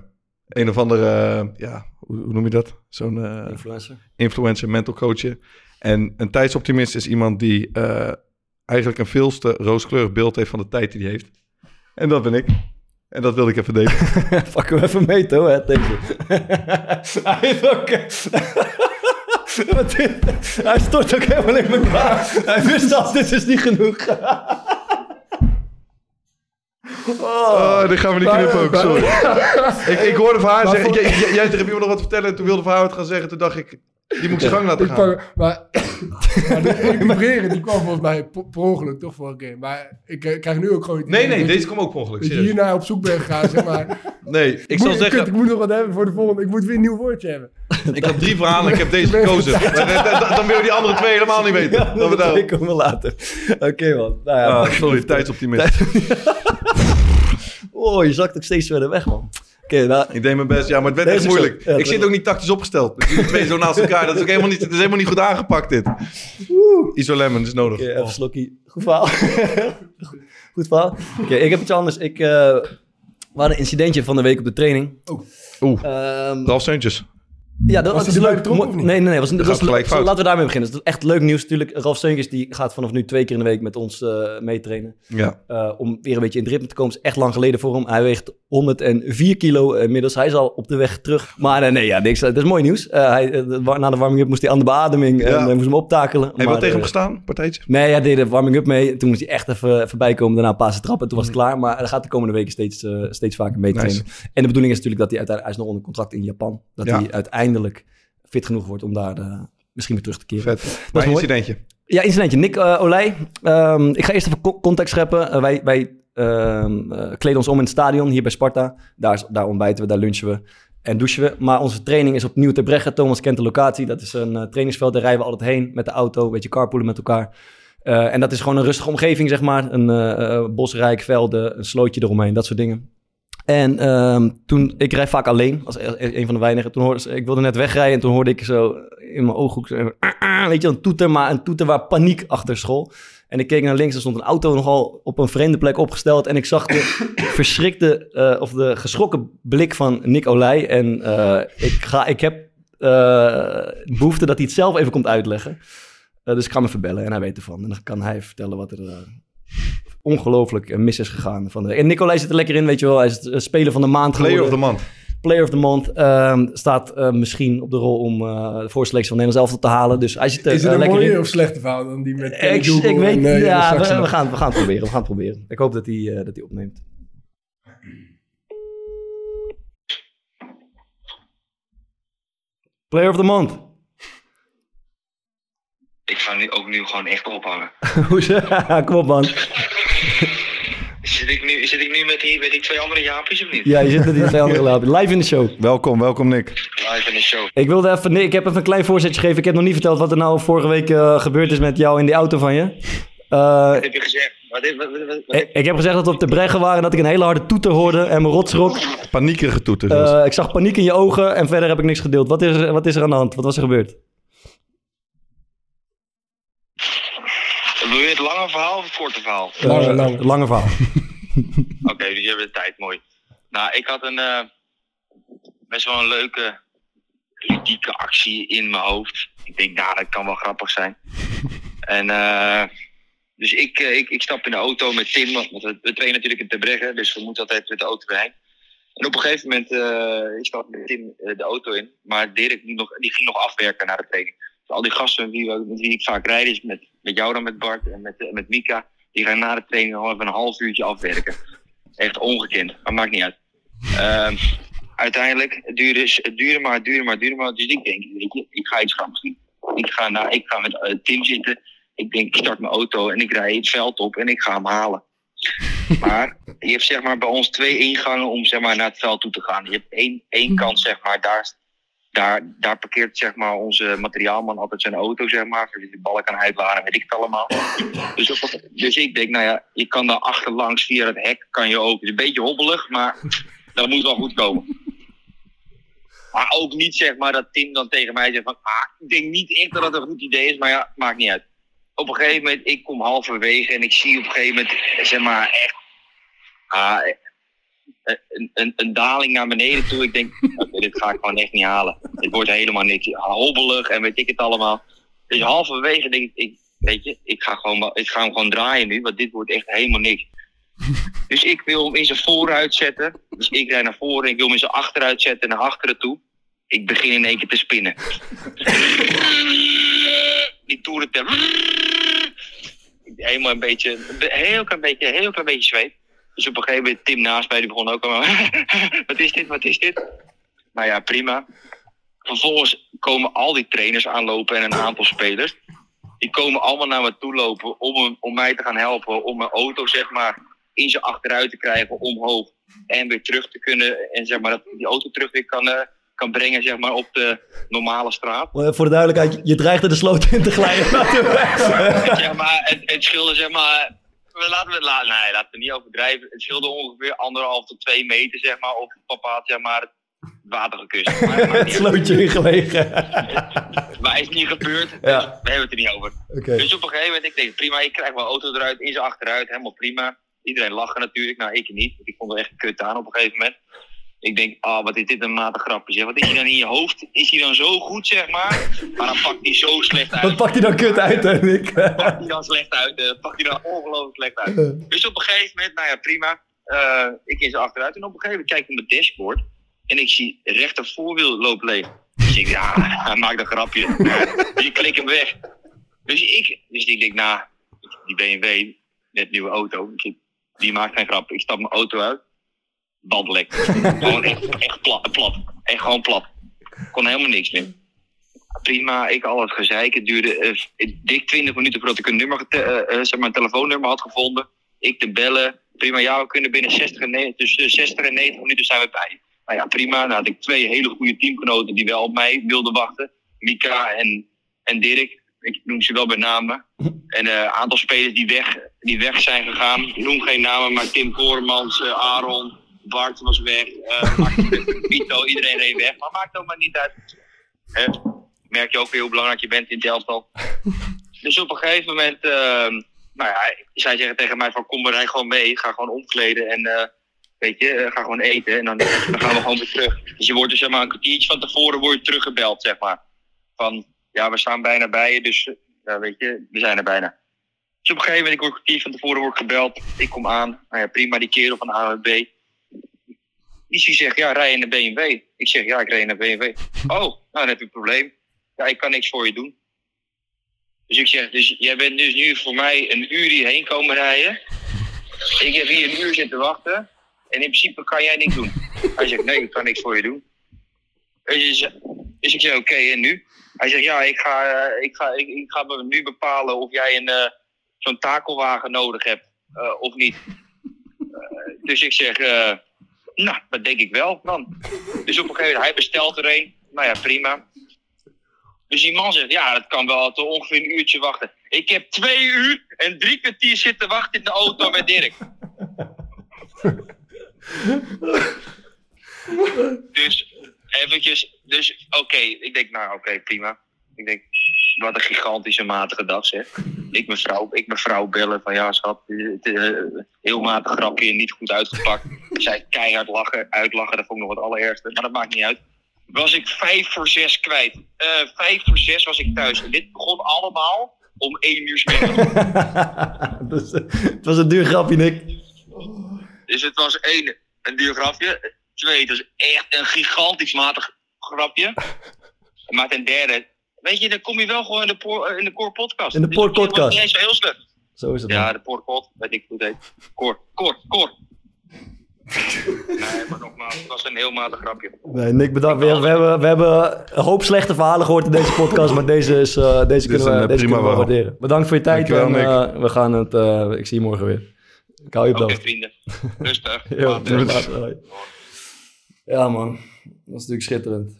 Speaker 4: Een of andere, eh, ja, hoe, hoe noem je dat? Zo'n eh,
Speaker 2: Influencer.
Speaker 4: influencer, mental coachen. En een tijdsoptimist is iemand die eh, eigenlijk een veelste rooskleurig beeld heeft van de tijd die hij heeft. En dat ben ik. En dat wilde ik even delen.
Speaker 2: Pak hem even mee, toch? Hè, tegen. Hij heeft ook... Wat dit- Hij stort ook helemaal in elkaar. Hij wist dat, dit is niet genoeg.
Speaker 4: Oh, dit gaan we niet knippen ook, sorry. ik, ik hoorde van haar
Speaker 5: Maar
Speaker 4: zeggen,
Speaker 5: voor-
Speaker 4: jij, jij- jij hebt iemand nog wat vertellen. En toen wilde van haar wat gaan zeggen. Toen dacht ik, die moet ik zijn gang laten
Speaker 5: Ik
Speaker 4: gaan.
Speaker 5: pak- maar, maar de recupereren, die kwam volgens mij po- per ongeluk toch voor een keer. Maar ik eh, krijg nu ook gewoon... het
Speaker 4: Nee,
Speaker 5: idee
Speaker 4: nee,
Speaker 5: dat
Speaker 4: deze
Speaker 5: je-
Speaker 4: kwam ook per ongeluk,
Speaker 5: Dat je
Speaker 4: serieus.
Speaker 5: hierna op zoek bent gegaan, zeg maar.
Speaker 4: Nee, ik
Speaker 5: moet,
Speaker 4: zal
Speaker 5: kut, ik
Speaker 4: zeggen,
Speaker 5: moet nog wat hebben voor de volgende. Ik moet weer een nieuw woordje hebben.
Speaker 4: ik had drie verhalen ik heb deze
Speaker 5: Ik ben-
Speaker 4: gekozen. Maar dan- dan- Dan wil je die andere twee helemaal niet weten.
Speaker 2: Ja,
Speaker 4: Dan we
Speaker 2: dat
Speaker 4: daar-
Speaker 2: ik hem later. Oké, man. Nou ja,
Speaker 4: Ah,
Speaker 2: maar-
Speaker 4: sorry, tijdsoptimist.
Speaker 2: Oh, je zakt ook steeds verder weg, man. Oké, nou...
Speaker 4: Ik deed mijn best, ja, maar het werd
Speaker 2: Deze
Speaker 4: echt moeilijk.
Speaker 2: is zo. Ja,
Speaker 4: ik zit ook niet tactisch opgesteld. Met jullie twee zo naast elkaar. Dat is ook helemaal niet, dat is helemaal niet goed aangepakt, dit. Isolemon is nodig.
Speaker 2: Oké, eh, even slokkie. Goed verhaal. Goed verhaal. Oké, ik heb iets anders. Ik, eh we hadden een incidentje van de week op de training.
Speaker 4: Oeh,
Speaker 2: Ehm,
Speaker 4: Ralf Seuntjes.
Speaker 2: Ja, dat
Speaker 4: Was
Speaker 2: was
Speaker 4: het
Speaker 2: leuk.
Speaker 4: bij de tromp
Speaker 2: Mo-
Speaker 4: of niet?
Speaker 2: Nee, nee, nee. Was,
Speaker 4: Dan
Speaker 2: dat
Speaker 4: gaat
Speaker 2: was,
Speaker 4: het gelijk
Speaker 2: zo-
Speaker 4: fout.
Speaker 2: Laten we daarmee beginnen. Dat is echt leuk nieuws natuurlijk. Ralf Seunkens die gaat vanaf nu twee keer in de week met ons eh, meetrainen.
Speaker 4: Ja.
Speaker 2: Eh, om weer een beetje in het ritme te komen. is echt lang geleden voor hem. Hij weegt 104 kilo eh, inmiddels. Hij is al op de weg terug. Maar eh, nee, ja, niks. Dat is mooi nieuws. Eh, hij, eh, de- na de warming-up moest hij aan de beademing. En
Speaker 4: Ja.
Speaker 2: eh, moest hem optakelen.
Speaker 4: Heb je
Speaker 2: Maar,
Speaker 4: wel tegen hem
Speaker 2: eh,
Speaker 4: gestaan, partijtje?
Speaker 2: Nee, hij deed de warming-up mee. Toen moest hij echt even eh, voorbij komen. Daarna een paar zijn trappen. Toen was het klaar. Maar hij gaat de komende weken steeds, eh, steeds vaker mee trainen. En de bedoeling is natuurlijk dat hij uiteindelijk... Hij is nog onder contract in Japan. Dat
Speaker 4: Ja.
Speaker 2: hij uiteindelijk fit genoeg wordt om daar eh, misschien weer terug te keren.
Speaker 4: Vet.
Speaker 2: Dat is
Speaker 4: Maar
Speaker 2: mooi.
Speaker 4: incidentje.
Speaker 2: Ja, incidentje. Nick eh, Olij. Ehm, ik ga eerst even co- context scheppen. Eh, wij wij ehm, eh, kleden ons om in het stadion hier bij Sparta. Daar, is- daar ontbijten we, daar lunchen we en douchen we. Maar onze training is opnieuw te breggen. Thomas kent de locatie. Dat is een eh, trainingsveld. Daar rijden we altijd heen met de auto. Een beetje carpoolen met elkaar. Eh, en dat is gewoon een rustige omgeving, zeg maar. Een eh, eh, bosrijk velden, een slootje eromheen, dat soort dingen. En ehm, toen, ik rijd vaak alleen, als e- een van de weinigen. Toen hoorde, ze- ik wilde net wegrijden en toen hoorde ik zo in mijn ooghoek, zo, "Ah, ah," weet je, een toeter, maar een toeter waar paniek achter school. En ik keek naar links, er stond een auto nogal op een vreemde plek opgesteld. En ik zag de verschrikte, eh, of de geschrokken blik van Nick Olij. En eh, ik, ga, ik heb eh, behoefte dat hij het zelf even komt uitleggen. Eh, dus ik ga hem even bellen en hij weet ervan. En dan kan hij vertellen wat er... eh, ongelooflijk eh, mis is gegaan. Van de... En Nicolai zit er lekker in, weet je wel. Hij is het eh, speler van de maand
Speaker 4: Player
Speaker 2: geworden.
Speaker 4: of the month.
Speaker 2: Player of the month. ehm, staat eh, misschien op de rol om eh, de voorselectie van Nederland zelf te halen. Dus hij zit er
Speaker 5: Is het
Speaker 2: eh,
Speaker 5: een
Speaker 2: lekker
Speaker 5: mooie
Speaker 2: in.
Speaker 5: of slechte verhaal dan die met Kelly
Speaker 2: Ik,
Speaker 5: Dougal
Speaker 2: ik weet,
Speaker 5: en, eh, Janne
Speaker 2: ja, we,
Speaker 5: Saxena?
Speaker 2: we gaan, we gaan het proberen. We gaan het proberen. Ik hoop dat hij, eh, dat hij opneemt. Player of the month.
Speaker 10: Ik ga nu ook nu gewoon echt ophangen.
Speaker 2: Hoezo? Kom op, man.
Speaker 10: Zit ik nu, zit ik nu met, die, met die twee andere jaapjes of niet?
Speaker 2: Ja, je zit met die twee andere lapen. Live in de show.
Speaker 4: Welkom, welkom Nick.
Speaker 10: Live in de show.
Speaker 2: Ik, wilde even, nee, ik heb even een klein voorzetje gegeven. Ik heb nog niet verteld wat er nou vorige week eh, gebeurd is met jou in die auto van je. Eh,
Speaker 10: Wat heb je gezegd? Wat, heb- wat, wat, wat-
Speaker 2: ik, ik heb gezegd dat we op de breggen waren en dat ik een hele harde toeter hoorde en mijn rotsrok.
Speaker 4: Paniekerige toeter.
Speaker 10: Oh.
Speaker 2: Eh, ik zag paniek in je ogen en verder heb ik niks gedeeld. Wat is, er- wat is er aan de hand? Wat was er gebeurd?
Speaker 10: Wil je het lange verhaal of het korte verhaal?
Speaker 2: Eh, Lange verhaal.
Speaker 10: Oké, dus je hebt de tijd, mooi. Nou, ik had een eh, best wel een leuke ludieke actie in mijn hoofd. Ik denk, nou, dat kan wel grappig zijn. En eh, dus ik, eh, ik, ik stap in de auto met Tim, want we, we trainen natuurlijk in Tebregge, dus we moeten altijd met de auto erheen. En op een gegeven moment, eh ik stap met Tim eh, de auto in, maar Dirk moet nog, die ging nog afwerken naar de training. Dus al die gasten met wie, we- met wie ik vaak rijd, is met, met jou dan, met Bart en met, eh, met Mika, die gaan na de training nog even een half uurtje afwerken. Echt ongekend, maar maakt niet uit. Ehm, uiteindelijk, het duurde, het duurde maar, het duurde maar, het duurde maar. Dus ik denk, weet je, ik ga iets grappigs doen. Ik ga, naar, ik ga met eh, Tim zitten. Ik denk, ik start mijn auto en ik rij het veld op en ik ga hem halen. Maar je hebt zeg maar bij ons twee ingangen om zeg maar, naar het veld toe te gaan. Je hebt één,
Speaker 3: Hm.
Speaker 10: één kant, zeg maar, daar, daar, daar parkeert zeg maar, onze materiaalman altijd zijn auto, zeg maar. Er zitten balken aan uitladen, weet ik het allemaal. Dus, op een- dus ik denk, nou ja, je kan daar achterlangs via het hek kan je ook. Het is een beetje hobbelig, maar dat moet wel goed komen. Maar ook niet zeg maar dat Tim dan tegen mij zegt van, ah, ik denk niet echt dat dat een goed idee is, maar ja, maakt niet uit. Op een gegeven moment, ik kom halverwege en ik zie op een gegeven moment, zeg maar, echt ah, eh, een, een, een daling naar beneden toe. Ik denk, oké, dit ga ik gewoon echt niet halen. Dit wordt helemaal niks hobbelig en weet ik het allemaal. Dus halverwege denk ik, ik weet je, ik ga, gewoon, wel- ik ga hem gewoon draaien nu, want dit wordt echt helemaal niks. Dus ik wil hem in zijn vooruit zetten. Dus ik rijd naar voren en ik wil hem in zijn achteruit zetten naar achteren toe. Ik begin in één keer te spinnen. Die toeren te... Helemaal een beetje, een be- heel klein beetje, heel klein beetje zweet. Dus op een gegeven moment, Tim naast mij, die begon ook allemaal... wat is dit, wat is dit? Maar ja, prima. Vervolgens komen al die trainers aanlopen en een aantal spelers. Die komen allemaal naar me toe lopen om, hem- om mij te gaan helpen. Om mijn auto, zeg maar, in zijn achteruit te krijgen, omhoog. En weer terug te kunnen. En zeg maar, dat ik die auto terug weer kan, eh, kan brengen, zeg maar, op de normale straat.
Speaker 2: Eh, Voor de duidelijkheid, je dreigde de sloot in te glijden.
Speaker 10: zeg maar, het, het scheelde, zeg maar... We laten we, la, nee, laten we niet overdrijven. Het scheelde ongeveer anderhalf tot twee meter, zeg maar, of papa had, zeg maar, het water gekust. Maar, het maakt
Speaker 2: Het
Speaker 10: niet uit.
Speaker 2: slootje ingelegen.
Speaker 10: Maar is niet gebeurd, dus
Speaker 2: Ja.
Speaker 10: we hebben het er niet over.
Speaker 2: Oké.
Speaker 10: Dus op een gegeven moment, ik denk prima, ik krijg mijn auto eruit, in zijn achteruit, helemaal prima. Iedereen lachen natuurlijk, nou ik niet, want ik vond er echt kut aan op een gegeven moment. Ik denk, ah, wat is dit een matig grapje zeg. Wat is hij dan in je hoofd? Is hij dan zo goed, zeg maar? Maar dan pakt hij zo slecht uit.
Speaker 2: Wat pakt hij dan kut uit, hè, Nick?
Speaker 10: Pakt hij dan slecht uit, eh, pakt hij dan ongelooflijk slecht uit. Dus op een gegeven moment, nou ja, prima. eh, ik in zijn achteruit en op een gegeven moment kijk ik op mijn dashboard en ik zie rechter voorwiel loopt leeg. Dus ik ja, hij maakt een grapje. Dus ik klik hem weg. Dus ik, dus ik denk, nou, die BMW, net nieuwe auto, ik denk, die maakt geen grap. Ik stap mijn auto uit, band lek. gewoon echt, echt plat, plat. Echt gewoon plat. Kon helemaal niks meer. Prima, ik al het gezeik. Het duurde eh, dik 20 minuten voordat ik een nummer, gete- eh, eh, zeg maar, een telefoonnummer had gevonden. Ik te bellen. Prima, ja, we kunnen binnen 60 en ne- tussen 60 en 90 minuten zijn we bij. Nou ja, prima. Nou had ik twee hele goede teamgenoten die wel op mij wilden wachten. Mika en, en Dirk. Ik noem ze wel bij namen. En eh, een aantal spelers die weg, die weg zijn gegaan. Ik noem geen namen, maar Tim Koormans, eh, Aaron, Bart was weg. eh Martin, Vito, iedereen reed weg. Maar maakt ook maar niet uit. Hè? Merk je ook weer hoe belangrijk je bent in het elftal. dus op een gegeven moment, ehm, nou ja, zij zeggen tegen mij van kom maar rij gewoon mee. Ga gewoon omkleden en eh, weet je, eh, ga gewoon eten. En dan, dan gaan we gewoon weer terug. Dus je wordt dus zeg maar een kwartiertje van tevoren word je teruggebeld, zeg maar. Van, ja, we staan bijna bij je, dus eh, ja, weet je, we zijn er bijna. Dus op een gegeven moment, ik word een kwartier van tevoren word ik gebeld. Ik kom aan. Nou ja, prima, die kerel van AWB. Dus die zegt, ja, rij in de BMW. Ik zeg, ja, ik rij in de BMW. Oh, nou, dan heb je een probleem. Ja, ik kan niks voor je doen. Dus ik zeg, dus jij bent dus nu voor mij een uur hierheen komen rijden. Ik heb hier een uur zitten wachten. En in principe kan jij niks doen. Hij zegt, nee, ik kan niks voor je doen. Dus, ik zeg- dus ik zeg, oké, en nu? Hij zegt, ja, ik ga, eh, ik ga, ik, ik ga me nu bepalen of jij een, eh, zo'n takelwagen nodig hebt eh, of niet. Eh, dus ik zeg, eh, nou, dat denk ik wel dan. Dus op een gegeven moment, hij bestelt er een. Nou ja, prima. Dus die man zegt, ja, dat kan wel tot ongeveer een uurtje wachten. Ik heb twee uur en drie kwartier zitten wachten in de auto met Dirk. dus eventjes, dus oké, ik denk, nou oké, prima. Ik denk, wat een gigantische matige dag zeg. Ik mijn vrouw, ik mijn vrouw bellen van ja schat, het, eh, heel matig grapje, niet goed uitgepakt. Zij keihard lachen, uitlachen, dat vond ik nog het allerergste, maar dat maakt niet uit. Was ik vijf voor zes kwijt. Eh, vijf voor zes was ik thuis. En dit begon allemaal om één uur 's middags.
Speaker 2: Dat is- Dus, eh, het was een duur grapje, Nick.
Speaker 10: Dus het was één, een duur grapje. Twee, het was echt een gigantisch matig grapje. Maar ten derde, weet je, dan kom je wel gewoon in de, poor, in de Core Podcast.
Speaker 2: In de Poor
Speaker 10: Dus op zich was
Speaker 2: Podcast.
Speaker 10: het niet eens zo heel slecht.
Speaker 2: Zo is het.
Speaker 10: Ja, de Poor Pod, weet ik hoe het heet. Core, Core, Core. nee, maar nogmaals, het was een heel matig grapje.
Speaker 2: Nee, Nick, bedankt. We, we, hebben, we hebben een hoop slechte verhalen gehoord in deze podcast, maar deze, is, eh, deze
Speaker 4: is
Speaker 2: kunnen
Speaker 4: een,
Speaker 2: we,
Speaker 4: eh,
Speaker 2: deze
Speaker 4: prima
Speaker 2: kunnen we
Speaker 4: verhaal.
Speaker 2: waarderen. Bedankt voor je tijd
Speaker 4: Dankjewel,
Speaker 2: en eh, we gaan het, eh, ik zie je morgen weer. Ik hou je op de
Speaker 10: Oké,
Speaker 2: hoogte.
Speaker 10: vrienden. Rustig.
Speaker 2: Yo,
Speaker 10: Later.
Speaker 2: later, hoi. Ja man, dat was natuurlijk schitterend.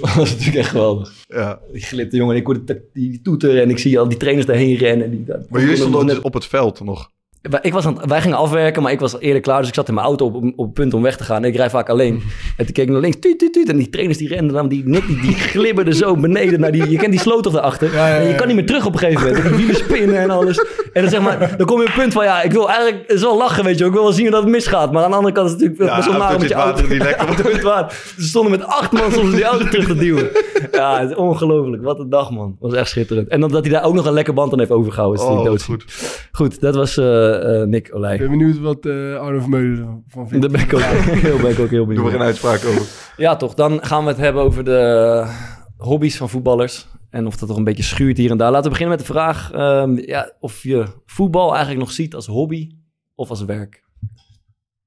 Speaker 2: dat was natuurlijk echt geweldig. Ja. Ik glipte jongen, ik hoorde t- die toeter en ik zie al die trainers daarheen rennen. Die,
Speaker 4: Maar jullie stonden dus op het veld nog.
Speaker 2: Wij- Ik was aan, het- wij gingen afwerken, maar ik was eerder klaar. Dus ik zat in mijn auto op, op het punt om weg te gaan. En ik rij vaak alleen. En toen keek ik naar links. Tuut, tuut, tuut. En die trainers die renden dan. Die, Nick, die, die glibberden zo beneden. Naar die, je kent die sloot toch daarachter? En je kan niet meer terug op een gegeven moment. En die wielen spinnen en alles. En dan zeg maar, dan kom je op het punt van... Ja, ik wil eigenlijk... Het is wel lachen, weet je wel. Ik wil wel zien hoe dat het misgaat. Maar aan de andere kant is het natuurlijk
Speaker 4: Ja,
Speaker 2: best wel naar met
Speaker 4: autootje
Speaker 2: je
Speaker 4: het
Speaker 2: auto.
Speaker 4: water niet lekker.
Speaker 2: Auto in het water. Ze stonden met acht man soms die auto terug te duwen. Ja, het is ongelooflijk. Wat een dag, man. Dat was echt schitterend. En dat hij daar ook nog een lekker band aan heeft overgehouden. Is
Speaker 5: Oh,
Speaker 2: oh,
Speaker 5: wat
Speaker 2: dood goed. Goed, dat was eh, eh, Nick Olij.
Speaker 5: Ik ben benieuwd wat eh Arno Vermeulen ervan vindt.
Speaker 2: Daar ben ik ook, heel, ben ik ook heel benieuwd.
Speaker 4: Doen we geen uitspraak over.
Speaker 2: Ja, toch. Dan gaan we het hebben over de eh, hobby's van voetballers. En of dat toch een beetje schuurt hier en daar. Laten we beginnen met de vraag ehm, ja, of je voetbal eigenlijk nog ziet als hobby of als werk.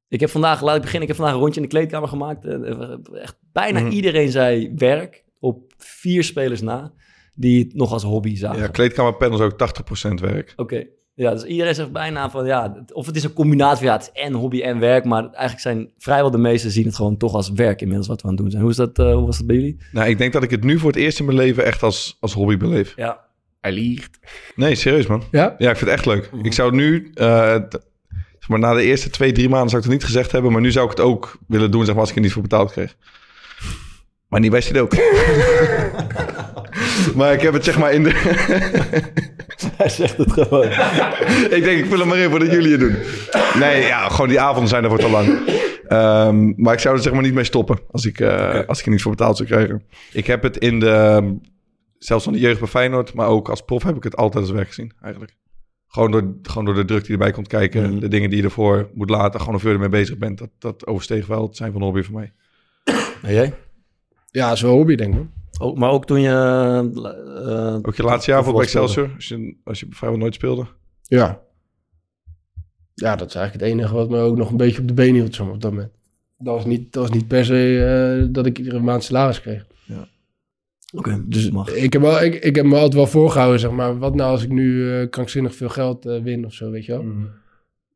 Speaker 2: Ik heb vandaag, laat ik beginnen, ik heb vandaag een rondje in de kleedkamer gemaakt. En, eh, Echt bijna
Speaker 4: Mhm.
Speaker 2: iedereen zei werk, op vier spelers na, die het nog als hobby zagen.
Speaker 4: Ja, kleedkamerpanels ook 80% werk.
Speaker 2: Oké. Ja, dus iedereen zegt bijna van ja, het- of het is een combinatie van ja, het is en hobby en werk, maar eigenlijk zijn vrijwel de meesten zien het gewoon toch als werk inmiddels wat we aan het doen zijn. Hoe, is dat, eh, hoe was dat bij jullie?
Speaker 4: Nou, ik denk dat ik het nu voor het eerst in mijn leven echt als, als hobby beleef.
Speaker 2: Ja.
Speaker 4: Hij liegt. Nee, serieus man. Ja? Ja, ik vind het echt leuk.
Speaker 2: Mhm.
Speaker 4: Ik zou nu, eh, t- zeg maar na de eerste twee, drie maanden zou ik het niet gezegd hebben, maar nu zou ik het ook willen doen, zeg maar, als ik er niet voor betaald kreeg. Maar niet bij Sudoku. maar ik heb het zeg maar in de...
Speaker 2: Hij zegt het gewoon.
Speaker 4: ik denk, ik vul hem maar in voordat jullie het doen. Nee, ja, gewoon die avonden zijn daarvoor te lang. Ehm, maar ik zou er zeg maar niet mee stoppen als ik, eh, als ik er niet voor betaald zou krijgen. Ik heb het in de... Zelfs van de jeugd bij Feyenoord, maar ook als prof heb ik het altijd als werk gezien, eigenlijk. Gewoon door, gewoon door de druk die erbij komt kijken,
Speaker 2: Mhm.
Speaker 4: de dingen die je ervoor moet laten, gewoon of je ermee bezig bent, dat, dat oversteeg wel het zijn van een hobby voor mij.
Speaker 2: En jij?
Speaker 5: Ja, zo'n hobby denk ik. hoor.
Speaker 2: Ook, maar ook toen je... eh,
Speaker 4: Ook je laatste jaar voor bij Excelsior, als je, als je vrijwel nooit speelde.
Speaker 5: Ja. Ja, dat is eigenlijk het enige wat me ook nog een beetje op de been hield zeg maar, op dat moment. Dat was niet, dat was niet per se eh, dat ik iedere maand salaris kreeg.
Speaker 2: Oké, dus het mag.
Speaker 5: Ik heb, wel, ik, ik heb me altijd wel voorgehouden, zeg maar. Wat nou als ik nu eh, krankzinnig veel geld eh, win of zo, weet je wel?
Speaker 2: Mhm.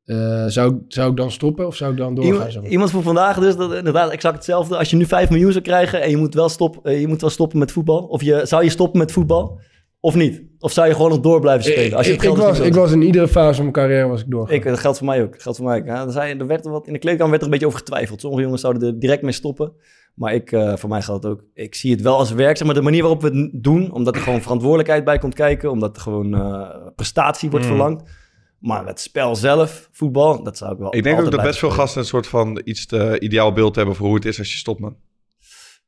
Speaker 5: Eh, zou, ik- zou ik dan stoppen of zou ik dan doorgaan?
Speaker 2: Iemand,
Speaker 5: zeg maar?
Speaker 2: iemand voor vandaag dus, dat, inderdaad exact hetzelfde. Als je nu 5 miljoen zou krijgen en je moet wel, stop, eh, je moet wel stoppen met voetbal. Of je, zou je stoppen met voetbal? Of niet? Of zou je gewoon nog door blijven spelen? Als je het
Speaker 5: ik,
Speaker 2: geld dus niet
Speaker 5: was,
Speaker 2: zou
Speaker 5: ik was in iedere fase van mijn carrière was ik doorgegaan.
Speaker 2: Ik, dat geldt voor mij ook. Dat geldt voor mij ook. Ja, er zei, er werd er wat, in de kleedkamer werd er een beetje over getwijfeld. Sommige jongens zouden er direct mee stoppen. Maar ik, eh, voor mij geldt het ook. Ik zie het wel als werk. Zeg maar de manier waarop we het n- doen. Omdat er gewoon verantwoordelijkheid bij komt kijken. Omdat er gewoon eh, prestatie wordt
Speaker 4: Mm.
Speaker 2: verlangd. Maar het spel zelf, voetbal, dat zou ik wel
Speaker 4: Ik denk ook
Speaker 2: altijd
Speaker 4: dat best
Speaker 2: blijven
Speaker 4: veel
Speaker 2: spelen.
Speaker 4: gasten een soort van iets te ideaal beeld hebben voor hoe het is als je stopt, man.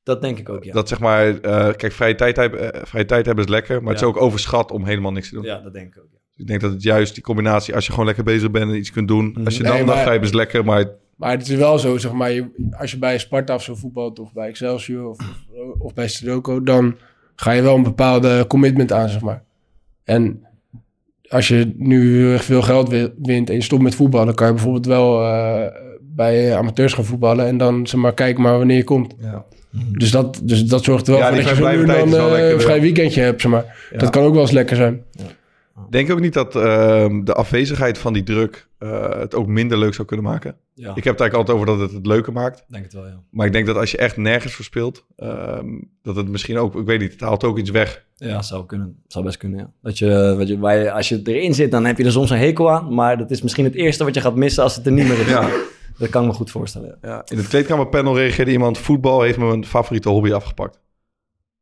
Speaker 2: Dat denk ik ook, ja.
Speaker 4: Dat zeg maar, eh, kijk, vrije tijd, hebben- eh, vrije tijd hebben is lekker, maar het
Speaker 2: Ja.
Speaker 4: is ook overschat om helemaal niks te doen.
Speaker 2: Ja, dat denk ik ook.
Speaker 4: Ik denk dat het juist die combinatie, als je gewoon lekker bezig bent en iets kunt doen,
Speaker 2: Mhm.
Speaker 4: als je dan
Speaker 5: Nee,
Speaker 4: een
Speaker 5: maar-
Speaker 4: dag vrij hebt, is lekker, maar
Speaker 5: Maar het is wel zo, zeg maar, je- als je bij Sparta of zo voetbalt, of bij Excelsior of, of- of bij Sudoku, dan ga je wel een bepaalde commitment aan, zeg maar. En als je nu heel erg veel geld wi- wint en je stopt met voetballen, dan kan je bijvoorbeeld wel eh, bij eh, amateurs gaan voetballen en dan zeg maar, kijk maar wanneer je komt. Dus, dat, dus dat zorgt er wel
Speaker 4: Ja,
Speaker 5: voor
Speaker 4: die
Speaker 5: dat je zo nu en
Speaker 4: vrijblijvende tijd
Speaker 5: dan
Speaker 4: is wel
Speaker 5: eh,
Speaker 4: lekker,
Speaker 5: een vrij
Speaker 4: ja.
Speaker 5: weekendje hebt. Zeg maar.
Speaker 4: Ja.
Speaker 5: Dat kan ook wel eens lekker zijn.
Speaker 4: Denk je ook niet dat ehm, de afwezigheid van die druk eh, het ook minder leuk zou kunnen maken.
Speaker 2: Ja.
Speaker 4: Ik heb het eigenlijk altijd over dat het het leuker maakt.
Speaker 2: Denk het wel, ja.
Speaker 4: Maar ik denk dat als je echt nergens voor speelt, ehm, dat het misschien ook, ik weet niet, het haalt ook iets weg.
Speaker 2: Ja, zou kunnen. Zou best kunnen, ja. Dat je, wat je, waar je- als je erin zit, dan heb je er soms een hekel aan. Maar dat is misschien het eerste wat je gaat missen als het er niet meer is. Dat kan ik me goed voorstellen.
Speaker 4: Ja. In het kleedkamerpanel reageerde iemand, voetbal heeft me mijn favoriete hobby afgepakt.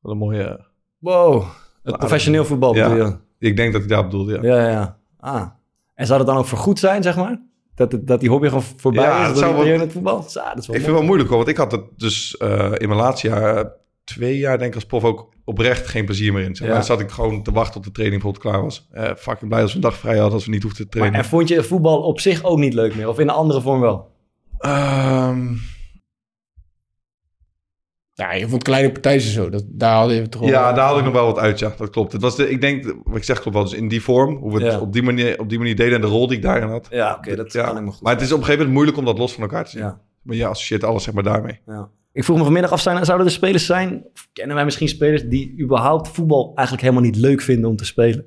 Speaker 4: Wat een mooie...
Speaker 2: Wow, het professioneel voetbal
Speaker 4: Ja.
Speaker 2: bedoel je?
Speaker 4: Ik denk dat ik daar bedoelde, ja.
Speaker 2: Ja, ja, ja. Ah. En zou dat dan ook voorgoed zijn, zeg maar? Dat, het- dat die hobby gewoon voorbij
Speaker 4: Ja,
Speaker 2: is?
Speaker 4: het
Speaker 2: dat
Speaker 4: zou
Speaker 2: die
Speaker 4: wel-
Speaker 2: weer in het voetbal? Ja, dat is wel
Speaker 4: ik vind het wel moeilijk hoor, want ik had het dus eh, in mijn laatste jaar, eh, twee jaar denk ik als prof ook oprecht geen plezier meer in. Zeg maar.
Speaker 2: Ja.
Speaker 4: Dan zat ik gewoon te wachten tot de training bijvoorbeeld klaar was. Eh fucking blij als we een dag vrij hadden, als we niet hoefden te
Speaker 2: Maar,
Speaker 4: trainen.
Speaker 2: en vond je voetbal op zich ook niet leuk meer? Of in een andere vorm wel?
Speaker 4: Ehm,
Speaker 5: Ja, je vond kleine partijen zo. Dat, daar hadden we toch wel-
Speaker 4: Ja, daar haal ik nog wel wat uit, ja. Dat klopt. Het was de, ik denk, wat ik zeg klopt wel, dus in die vorm, hoe we het op, die manier, op die manier deden en de rol die ik daarin had.
Speaker 2: Ja, oké, dat kan ik me goed
Speaker 4: Maar het is op een gegeven moment moeilijk om dat los van elkaar te zien.
Speaker 2: Ja.
Speaker 4: Maar je associeert alles zeg maar daarmee.
Speaker 2: Ja. Ik vroeg me vanmiddag af, zijn, zouden er spelers zijn... of kennen wij misschien spelers die überhaupt voetbal eigenlijk helemaal niet leuk vinden om te spelen?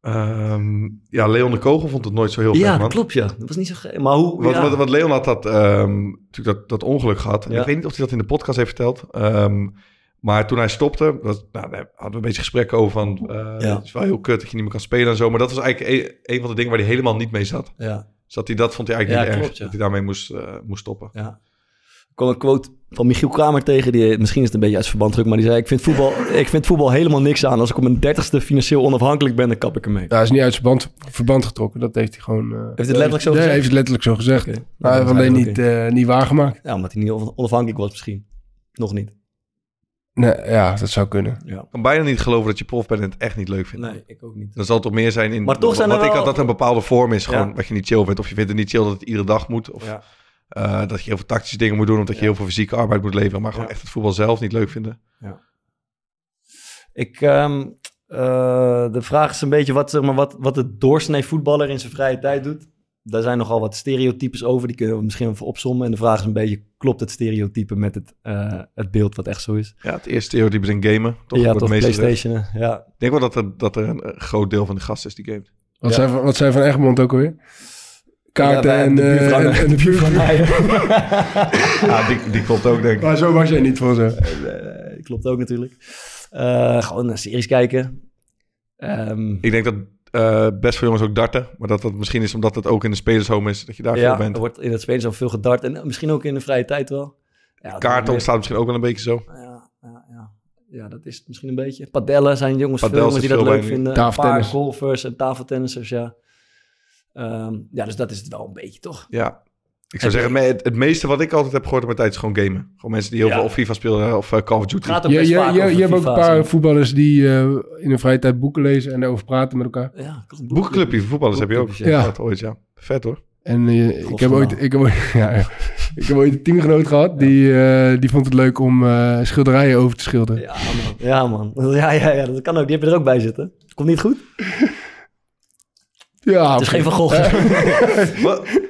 Speaker 4: Ehm, ja, Leon de Kogel vond het nooit zo heel
Speaker 2: Ja,
Speaker 4: gek,
Speaker 2: dat
Speaker 4: man.
Speaker 2: klopt, ja. Dat was niet zo gek. Maar hoe...
Speaker 4: Want,
Speaker 2: ja.
Speaker 4: want, want Leon had dat, ehm, natuurlijk dat, dat ongeluk gehad. En
Speaker 2: Ja.
Speaker 4: Ik weet niet of hij dat in de podcast heeft verteld. Ehm, maar toen hij stopte, dat, nou, daar hadden we een beetje gesprekken over van... eh,
Speaker 2: Ja.
Speaker 4: Het is wel heel kut dat je niet meer kan spelen en zo. Maar dat was eigenlijk een, een van de dingen waar hij helemaal niet mee zat.
Speaker 2: Ja.
Speaker 4: Dus dat, hij, dat vond hij eigenlijk
Speaker 2: Ja,
Speaker 4: niet
Speaker 2: klopt,
Speaker 4: erg,
Speaker 2: ja.
Speaker 4: dat hij daarmee moest, eh, moest stoppen.
Speaker 2: Ja. Ik kwam een quote van Michiel Kramer tegen. Die, misschien is het een beetje uit verband druk, maar die zei... Ik vind, voetbal, ik vind voetbal helemaal niks aan. Als ik op mijn dertigste financieel onafhankelijk ben, dan kap ik ermee.
Speaker 5: Ja, hij is niet uit zijn band, verband getrokken. Dat heeft hij gewoon... eh,
Speaker 2: Heeft hij het letterlijk zo
Speaker 5: Ja,
Speaker 2: gezegd?
Speaker 5: hij heeft het letterlijk zo gezegd.
Speaker 2: Oké. Nou,
Speaker 5: Maar hij heeft
Speaker 2: Dan zijn
Speaker 5: alleen
Speaker 2: we
Speaker 5: niet, eh, niet waargemaakt.
Speaker 2: Ja, omdat hij niet on- onafhankelijk was misschien. Nog niet.
Speaker 5: Nee, ja, dat zou kunnen.
Speaker 4: Ik kan bijna niet geloven dat je prof bent en het echt niet leuk vindt.
Speaker 2: Nee, ik ook niet.
Speaker 4: Dan zal het toch meer zijn in...
Speaker 2: Maar toch zijn
Speaker 4: wat
Speaker 2: er
Speaker 4: ik
Speaker 2: wel-
Speaker 4: had dat een bepaalde vorm is,
Speaker 2: Ja.
Speaker 4: gewoon wat je niet chill vindt. Of je vindt het niet chill dat het iedere dag moet. Of
Speaker 2: Ja.
Speaker 4: eh, dat je heel veel tactische dingen moet doen, omdat je heel veel fysieke arbeid moet leveren. Maar gewoon echt het voetbal zelf niet leuk vinden.
Speaker 2: Ik, ehm, eh, de vraag is een beetje wat, zeg maar, wat, wat de doorsnee voetballer in zijn vrije tijd doet. Daar zijn nogal wat stereotypes over, die kunnen we misschien even opzommen. En de vraag is een beetje, klopt het stereotype met het, eh, het beeld wat echt zo is?
Speaker 4: Ja, het eerste stereotype is een gamen. Toch
Speaker 2: Ja,
Speaker 4: Wordt
Speaker 2: toch,
Speaker 4: het meest gezegd.
Speaker 2: PlayStationen, ja.
Speaker 4: Ik denk wel dat er, dat er een eh, groot deel van de gasten is die gamet.
Speaker 5: Wat, zei, van- wat zei Van Egmond ook alweer? Kaarten
Speaker 4: Ja, wij-
Speaker 5: en,
Speaker 4: de
Speaker 5: eh,
Speaker 4: buurvrouw-
Speaker 5: en, en de buurvrouw.
Speaker 4: Ja, die, die klopt ook, denk ik.
Speaker 5: Maar zo was jij niet voor ze.
Speaker 2: Eh, klopt ook natuurlijk. Eh, gewoon naar series kijken. Ehm,
Speaker 4: Ik denk dat eh, best veel jongens ook darten. Maar dat dat misschien is omdat het ook in de spelershome is, dat je daar veel
Speaker 2: ja,
Speaker 4: bent.
Speaker 2: er wordt in het spelen zo veel gedart. En eh, misschien ook in de vrije tijd wel. Ja, dat
Speaker 4: Kaarten
Speaker 2: is
Speaker 4: ontstaat misschien ook wel een beetje zo.
Speaker 2: Ja, ja, ja. ja, dat is het misschien een beetje. Padellen zijn jongens veel
Speaker 4: Padel
Speaker 2: jongens die
Speaker 4: zit
Speaker 2: dat
Speaker 4: veel
Speaker 2: leuk
Speaker 4: bij nu.
Speaker 2: vinden.
Speaker 4: Tafeltennis.
Speaker 2: Een paar golfers en tafeltennissers, ja. Ehm, ja, dus dat is het wel een beetje, toch?
Speaker 4: Ja. Ik zou zeggen, me- het, het meeste wat ik altijd heb gehoord op mijn tijd is gewoon gamen. Gewoon mensen die heel
Speaker 2: eh, Ja.
Speaker 4: veel of FIFA spelen of eh, Call of Duty.
Speaker 2: Gaat ook
Speaker 5: Je, je,
Speaker 2: best vaak
Speaker 5: je,
Speaker 2: over
Speaker 5: je hebt ook
Speaker 2: FIFA's
Speaker 5: een paar
Speaker 2: en-
Speaker 5: voetballers die eh, in hun vrije tijd boeken lezen en daarover praten met elkaar.
Speaker 2: Ja, klopt.
Speaker 4: Boekenclubje voor voetballers heb je ook.
Speaker 5: Boekenclubjes, ja.
Speaker 4: Ja. Dat ooit, ja. Vet hoor.
Speaker 5: En eh, ik, heb ooit, ik, heb ooit, ja, ja. ik heb ooit een teamgenoot gehad die, eh, die vond het leuk om eh, schilderijen over te schilderen.
Speaker 2: Ja, man. Ja, ja, ja, dat kan ook. Die heb je er ook bij zitten. Komt niet goed?
Speaker 5: Ja,
Speaker 2: het is geen Van Gogh.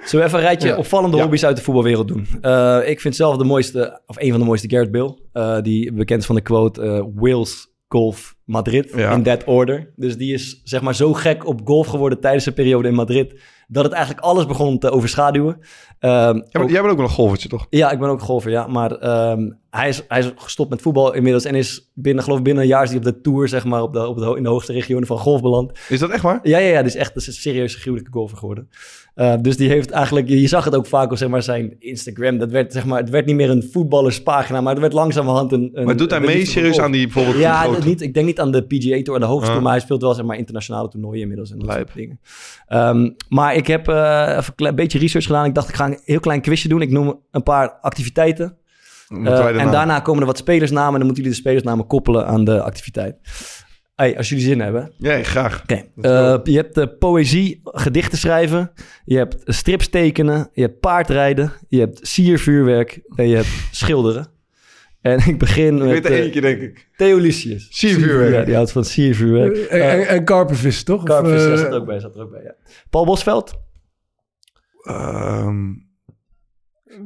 Speaker 2: Zullen we even een rijtje
Speaker 5: Ah, Eh. Ja.
Speaker 2: opvallende
Speaker 5: Ja.
Speaker 2: hobby's uit de voetbalwereld doen? Eh, ik vind zelf de mooiste, of een van de mooiste, Garrett Bill. Eh, die bekend is van de quote eh, Wales, golf, Madrid. In that order. Dus die is zeg maar zo gek op golf geworden tijdens zijn periode in Madrid. Dat het eigenlijk alles begon te overschaduwen. Ehm, ook-
Speaker 4: Jij bent ook wel een golfertje toch?
Speaker 2: ja, ik ben ook golfer, ja. Maar ehm, hij, is, hij is gestopt met voetbal inmiddels en is binnen, geloof ik, binnen een jaar is hij op de Tour, zeg maar, op de, op de, ho- in de hoogste regionen van golf beland.
Speaker 4: Is dat echt waar?
Speaker 2: Ja, ja, ja. Dus echt, dat is een serieuze gruwelijke golfer geworden. Eh, dus die heeft eigenlijk, je je zag het ook vaak op, zeg maar, zijn Instagram. Dat werd, zeg maar, het werd niet meer een voetballerspagina, maar het werd langzamerhand een... een
Speaker 4: Maar doet hij
Speaker 2: een
Speaker 4: mee
Speaker 2: liefde voor
Speaker 4: serieus
Speaker 2: golf.
Speaker 4: aan die bijvoorbeeld
Speaker 2: Ja,
Speaker 4: grote-
Speaker 2: dat niet, ik denk niet aan de PGA Tour, aan de hoogste,
Speaker 4: Ah.
Speaker 2: maar hij speelt wel, zeg maar, internationale toernooien inmiddels en dat soort dingen. Ehm, maar ik heb eh, even een klein beetje research gedaan. Ik dacht, ik ga een heel klein quizje doen. Ik noem een paar activiteiten.
Speaker 4: Moeten
Speaker 2: Eh,
Speaker 4: wij de
Speaker 2: en
Speaker 4: naam?
Speaker 2: daarna komen er wat spelersnamen. En dan moeten jullie de spelersnamen koppelen aan de activiteit. Hey, als jullie zin hebben.
Speaker 4: Ja, graag.
Speaker 2: Oké. Eh, je hebt eh, poëzie, gedichten schrijven. Je hebt strips tekenen. Je hebt paardrijden. Je hebt siervuurwerk. En je hebt schilderen. En ik begin
Speaker 4: Ik
Speaker 2: met...
Speaker 4: weet er
Speaker 2: eh,
Speaker 4: eentje, denk ik.
Speaker 2: Theo Lucius.
Speaker 4: Siervuurwerk.
Speaker 2: Ja, die houdt van siervuurwerk.
Speaker 5: En, en, en karpenvissen, toch? Of,
Speaker 2: Karpenvissen, daar
Speaker 5: eh,
Speaker 2: zat ook bij, zat er ook bij, ja. Paul Bosveld?
Speaker 4: Ehm,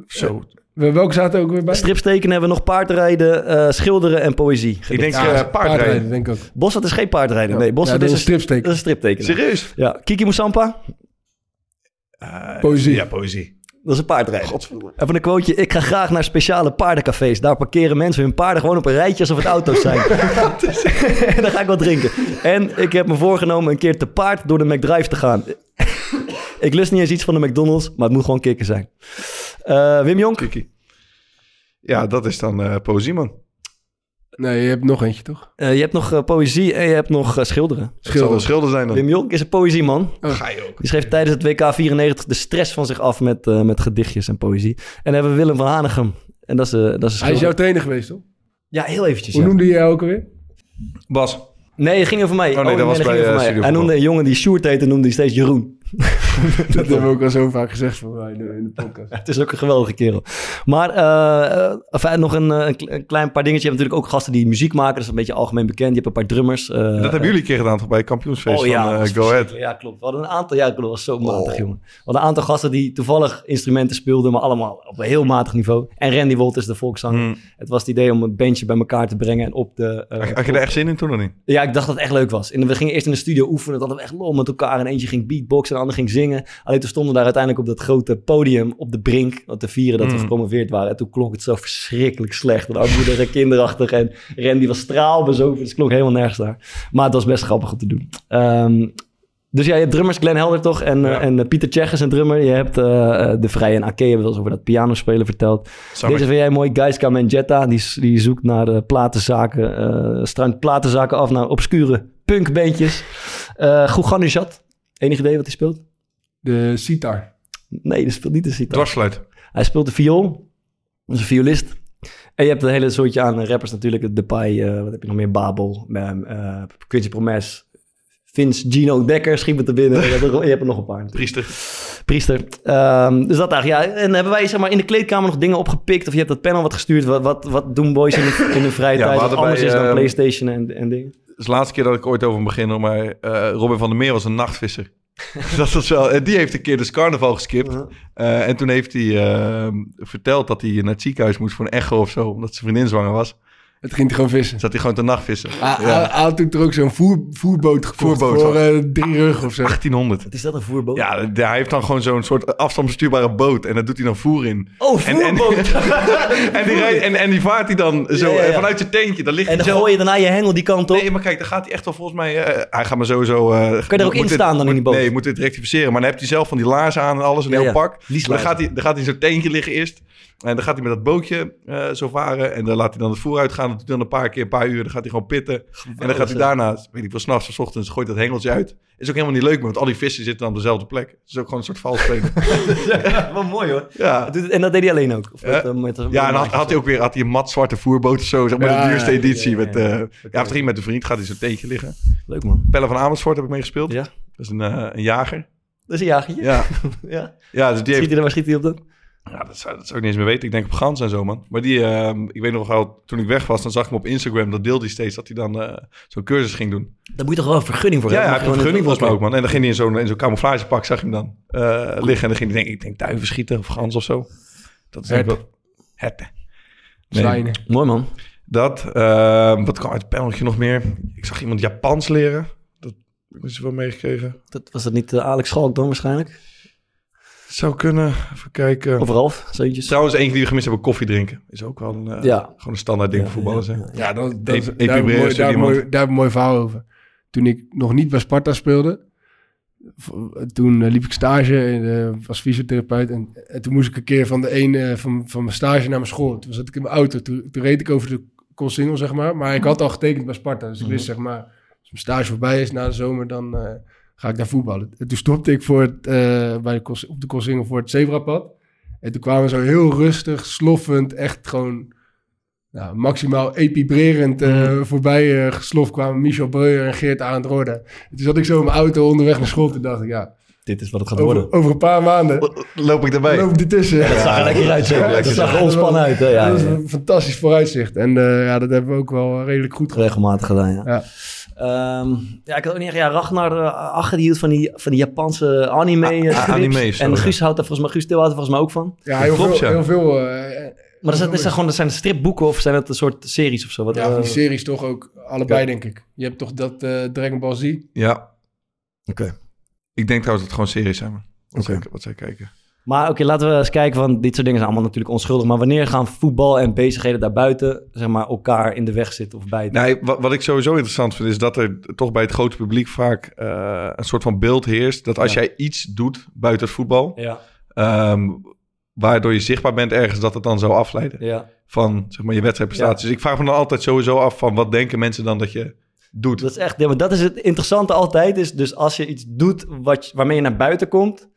Speaker 2: Zo.
Speaker 5: We- Welke zaten er ook weer bij?
Speaker 2: Stripsteken hebben we nog paardrijden, eh, schilderen en poëzie.
Speaker 5: Ik denk, Ja, eh, paardrijden. paardrijden, denk ik ook.
Speaker 2: Bossert is geen paardrijden. Nee,
Speaker 5: Ja,
Speaker 2: Bossert
Speaker 5: dat
Speaker 2: is
Speaker 5: is
Speaker 2: een
Speaker 5: een stripteken.
Speaker 2: Dat is een stripteken.
Speaker 5: Serieus?
Speaker 2: Ja. Kiki Moussampa?
Speaker 5: Poëzie.
Speaker 4: Ja, poëzie.
Speaker 2: Dat is een paardrijden. Even een quoteje. Ik ga graag naar speciale paardencafés. Daar parkeren mensen hun paarden gewoon op een rijtje alsof het auto's zijn. en dan ga ik wat drinken. En ik heb me voorgenomen een keer te paard door de McDrive te gaan. ik lust niet eens iets van de McDonald's, maar het moet gewoon kikken zijn. Eh, Wim Jonk? Kiki.
Speaker 4: Ja, dat is dan eh poëzie, man.
Speaker 5: Nee, je hebt nog eentje, toch?
Speaker 2: Eh, je hebt nog eh, poëzie en je hebt nog eh, schilderen.
Speaker 4: Schilderen. Zal wel schilder
Speaker 5: Oh.
Speaker 4: zijn dan.
Speaker 2: Wim Jonk is een poëzieman.
Speaker 4: Ga je ook.
Speaker 2: Die schreef tijdens het WK 94 de stress van zich af met, eh, met gedichtjes en poëzie. En dan hebben we Willem van Hanegem. En dat is, eh, dat is een
Speaker 5: Hij is jouw
Speaker 2: schilder.
Speaker 5: trainer geweest, toch?
Speaker 2: Ja, heel eventjes.
Speaker 5: Hoe
Speaker 2: ja.
Speaker 5: noemde je jou ook alweer?
Speaker 4: Bas.
Speaker 2: Nee, het ging over mij.
Speaker 5: nee, dat was
Speaker 2: ging
Speaker 5: bij,
Speaker 2: over
Speaker 5: eh,
Speaker 2: mij.
Speaker 5: Studio
Speaker 2: Hij noemde een jongen die Sjoerd heette, noemde hij steeds Jeroen.
Speaker 5: Dat hebben we ook al zo vaak gezegd voor mij in de- in de podcast.
Speaker 2: Het is ook een geweldige kerel. Maar eh, eh, enfin, nog een, eh, een kle- een klein paar dingetjes. Je hebt natuurlijk ook gasten die muziek maken. Dat is een beetje algemeen bekend. Je hebt een paar drummers. eh,
Speaker 4: dat hebben jullie een keer gedaan toch, bij het kampioensfeest
Speaker 2: Oh ja,
Speaker 4: van eh,
Speaker 2: dat was
Speaker 4: Go Ahead.
Speaker 2: verschrikkelijk. Ja, klopt. We hadden een aantal, ja, klopt, dat was zo matig, jongen. We hadden een aantal gasten die toevallig instrumenten speelden, maar allemaal op een heel matig niveau. En Randy Wolters, de
Speaker 4: Hmm.
Speaker 2: volkszanger. Het was het idee om een bandje bij elkaar te brengen en op de... eh,
Speaker 4: Had je er echt zin in toen of niet?
Speaker 2: Ja, ik dacht dat het echt leuk was. En we gingen eerst in de studio oefenen. Dat hadden we echt lol met elkaar. En eentje ging beatboxen en de ander ging zingen. Alleen toen stonden we daar uiteindelijk op dat grote podium op de brink. Wat te vieren dat we
Speaker 4: Mm.
Speaker 2: gepromoveerd waren. En toen klonk het zo verschrikkelijk slecht. En armoedig en kinderachtig. En Randy was straalbezopen. Dus het klonk helemaal nergens daar. Maar het was best grappig om te doen. Ehm, dus ja, je hebt drummers Glenn Helder toch? En, eh, en eh, Pieter Tsjech is een drummer. Je hebt eh, eh, De Vrije en Ake. Hebben we al eens over dat pianospelen verteld.
Speaker 4: Samen-
Speaker 2: Deze vind jij mooi. Gaiska Mangetta. Die, die zoekt naar eh, platenzaken. eh struint platenzaken af naar obscure punkbandjes. Eh Gouganujad. Enig idee wat hij speelt?
Speaker 5: De sitar.
Speaker 2: Nee, hij speelt niet de sitar.
Speaker 4: Dwarsfluit.
Speaker 2: Hij speelt de viool. Dat is een violist. En je hebt een hele soortje aan eh, rappers natuurlijk. Depay, eh wat heb je nog meer? Babel, eh, eh, Quincy Promes, Vince, Gino Dekker schiet me te binnen. je, hebt er, je hebt er nog een paar. natuurlijk.
Speaker 4: Priester.
Speaker 2: Priester. Ehm, dus dat eigenlijk, ja. En hebben wij zeg maar, in de kleedkamer nog dingen opgepikt? Of je hebt dat panel wat gestuurd? Wat, wat, wat doen boys in hun, in hun vrije
Speaker 4: Ja, we
Speaker 2: tijd? Wat
Speaker 4: hadden
Speaker 2: anders
Speaker 4: bij,
Speaker 2: is dan
Speaker 4: ehm,
Speaker 2: Playstation en, en dingen?
Speaker 4: Het is de laatste keer dat ik ooit over hem begin, hoor, maar eh, Robin van der Meer was een nachtvisser. dat was wel, en die heeft een keer dus carnaval geskipt.
Speaker 2: Uh-huh.
Speaker 4: Eh, en toen heeft hij eh, verteld dat hij naar het ziekenhuis moest voor een echo of zo, omdat zijn vriendin zwanger was.
Speaker 5: Het ging hij gewoon vissen.
Speaker 4: Zat hij gewoon te nachtvissen.
Speaker 5: Ah,
Speaker 2: Ah,
Speaker 5: Hij hij had toen er ook zo'n voer, voerboot gekocht
Speaker 4: Voerboot,
Speaker 5: voor
Speaker 4: ja.
Speaker 5: eh, drie rug of zo.
Speaker 4: 1800.
Speaker 2: Is dat een voerboot?
Speaker 4: Ja, d- hij heeft dan gewoon zo'n soort afstandsbestuurbare boot en daar doet hij dan voer in.
Speaker 2: Oh,
Speaker 4: En- en-
Speaker 2: voerboot.
Speaker 4: en, die rijdt, en, en die vaart hij dan zo
Speaker 2: Ja, ja, ja.
Speaker 4: eh, vanuit je teentje. Dan ligt
Speaker 2: En
Speaker 4: hij
Speaker 2: dan
Speaker 4: zo-
Speaker 2: gooi je daarna je hengel die kant op.
Speaker 4: Nee, maar kijk, dan gaat hij echt wel volgens mij... eh, hij gaat maar sowieso... eh,
Speaker 2: je er ook
Speaker 4: moet
Speaker 2: in
Speaker 4: dit-
Speaker 2: staan dan in die boot?
Speaker 4: Nee, je moet dit rectificeren. Maar dan heb hij zelf van die laarzen aan en alles, een
Speaker 2: Ja,
Speaker 4: heel
Speaker 2: ja.
Speaker 4: pak. Maar Dan
Speaker 2: Lieslaarzen.
Speaker 4: gaat, hij, dan gaat hij in zo'n teentje liggen eerst. En dan gaat hij met dat bootje eh, zo varen. En dan laat hij dan het voer uitgaan. Dat doet hij dan een paar keer, een paar uur. Dan gaat hij gewoon pitten. en dan gaat hij
Speaker 2: zeg.
Speaker 4: daarna, weet ik wel, s'nachts of 's ochtends, gooit dat hengeltje uit. Is ook helemaal niet leuk meer, want al die vissen zitten dan op dezelfde plek. Het is ook gewoon een soort vals spelen.
Speaker 2: Wat mooi hoor.
Speaker 4: ja.
Speaker 2: En dat deed hij alleen ook? Of met, eh, met- met-
Speaker 4: Ja, en had, had hij ook weer had hij een mat zwarte voerboot of zo. Zeg maar
Speaker 2: Ja,
Speaker 4: de duurste
Speaker 2: ja,
Speaker 4: editie.
Speaker 2: ja, ja,
Speaker 4: met,
Speaker 2: ja.
Speaker 4: eh ja, of ging met een vriend, gaat hij zo'n teentje liggen.
Speaker 2: Leuk man.
Speaker 4: Pelle van Amersfoort heb ik meegespeeld.
Speaker 2: Ja.
Speaker 4: Dat is een, eh, een jager.
Speaker 2: Dat is een jagertje.
Speaker 4: Ja.
Speaker 2: ja.
Speaker 4: Ja, dus die
Speaker 2: Schiet
Speaker 4: heeft,
Speaker 2: hij er, waar schiet hij op dan?
Speaker 4: ja dat, zou, dat zou ik niet eens meer weten. Ik denk op Gans en zo, man. Maar die, ehm, ik weet nog wel, toen ik weg was, dan zag ik hem op Instagram. Dat deelde hij steeds, dat hij dan eh, zo'n cursus ging doen.
Speaker 2: Daar moet je toch wel een vergunning voor
Speaker 4: Ja, ja,
Speaker 2: hebben?
Speaker 4: hij had een vergunning volgens mij
Speaker 2: Oké.
Speaker 4: ook, man. En dan ging hij in zo'n in zo'n camouflagepak, zag je hem dan eh, liggen. En dan ging hij, denk ik, denk duiven schieten of gans of zo. Dat is denk ik
Speaker 5: Herten.
Speaker 4: wel... Herten.
Speaker 5: Zwijnen.
Speaker 2: Mooi, man.
Speaker 4: Dat, ehm, wat kwam uit het paneltje nog meer? Ik zag iemand Japans leren. Dat is wel meegekregen.
Speaker 2: Dat, was dat niet eh, Alex Schalk dan waarschijnlijk?
Speaker 4: Zou kunnen. Even kijken.
Speaker 2: Of Ralf, zoiets.
Speaker 4: Trouwens, eentje die we gemist hebben, koffie drinken. Is ook wel een, eh,
Speaker 2: Ja.
Speaker 4: gewoon een standaard ding voor voetballers. hè?
Speaker 5: Ja, dat, dat,
Speaker 4: Epi-
Speaker 5: daar, heb ik
Speaker 4: Epi
Speaker 5: mooi,
Speaker 4: Breus,
Speaker 5: daar, heb ik
Speaker 4: iemand.
Speaker 5: mooi, daar heb ik een mooi verhaal over. Toen ik nog niet bij Sparta speelde, v- toen eh, liep ik stage en eh, was fysiotherapeut. En, en toen moest ik een keer van, de een, eh, van, van mijn stage naar mijn school. Toen zat ik in mijn auto, toen, toen reed ik over de Koolsingel, zeg maar. Maar ik had al getekend bij Sparta,
Speaker 2: Mhm.
Speaker 5: dus ik wist, zeg maar, als mijn stage voorbij is na de zomer, dan eh, ga ik naar voetballen. En toen stopte ik voor het, eh, bij de, Koolsi- op de Koolsingel voor het Zebrapad. En toen kwamen we zo heel rustig, sloffend, echt gewoon nou, maximaal epibrerend eh,
Speaker 2: Mhm.
Speaker 5: voorbij eh, gesloft kwamen Michel Breuer en Geert Arend Rode. En Toen zat ik zo in mijn auto onderweg naar school. Toen dacht ik, ja,
Speaker 2: dit is wat het gaat worden.
Speaker 5: Over, over een paar maanden.
Speaker 4: Loop ik erbij.
Speaker 5: Loop die tussen.
Speaker 2: Ja, dat zag er lekker uit, zeg. Dat zag er ontspannen uit, hè. Ja,
Speaker 5: dat is
Speaker 2: ja, ja.
Speaker 5: een fantastisch vooruitzicht. En eh, ja, dat hebben we ook wel redelijk goed gedaan.
Speaker 2: Regelmatig gedaan, ja.
Speaker 5: ja.
Speaker 2: Ehm, ja, ik had ook niet echt... Ja, Ragnar eh, Ache, die hield van die, van die Japanse anime eh, strips.
Speaker 4: anime is
Speaker 2: En
Speaker 4: dat,
Speaker 2: Guus houdt daar volgens mij... Guus Til houdt er volgens mij ook van.
Speaker 5: Ja, heel veel. Heel veel eh,
Speaker 2: Maar is dat, is dat gewoon, dat zijn stripboeken of zijn dat een soort series of zo? Wat,
Speaker 5: ja, van
Speaker 2: eh,
Speaker 5: die series toch ook allebei,
Speaker 2: Ja.
Speaker 5: denk ik. Je hebt toch dat eh, Dragon Ball Z?
Speaker 4: Ja. Oké. Ik denk trouwens dat het gewoon series zijn. man. Wat,
Speaker 2: Oké.
Speaker 4: zij, wat zij kijken.
Speaker 2: Maar oké, laten we eens kijken, want dit soort dingen zijn allemaal natuurlijk onschuldig. Maar wanneer gaan voetbal en bezigheden daarbuiten zeg maar, elkaar in de weg zitten of bijten?
Speaker 4: Nee, wat, wat Nou, ik sowieso interessant vind, is dat er toch bij het grote publiek vaak eh, een soort van beeld heerst. Dat als
Speaker 2: Ja.
Speaker 4: jij iets doet buiten het voetbal,
Speaker 2: Ja.
Speaker 4: ehm, waardoor je zichtbaar bent ergens, dat het dan zou afleiden.
Speaker 2: Ja.
Speaker 4: Van zeg maar, je wedstrijdprestaties. Dus ik vraag me dan altijd sowieso af van wat denken mensen dan dat je doet.
Speaker 2: Dat is echt, ja, maar dat is het interessante altijd. Is dus als je iets doet wat, je- waarmee je naar buiten komt,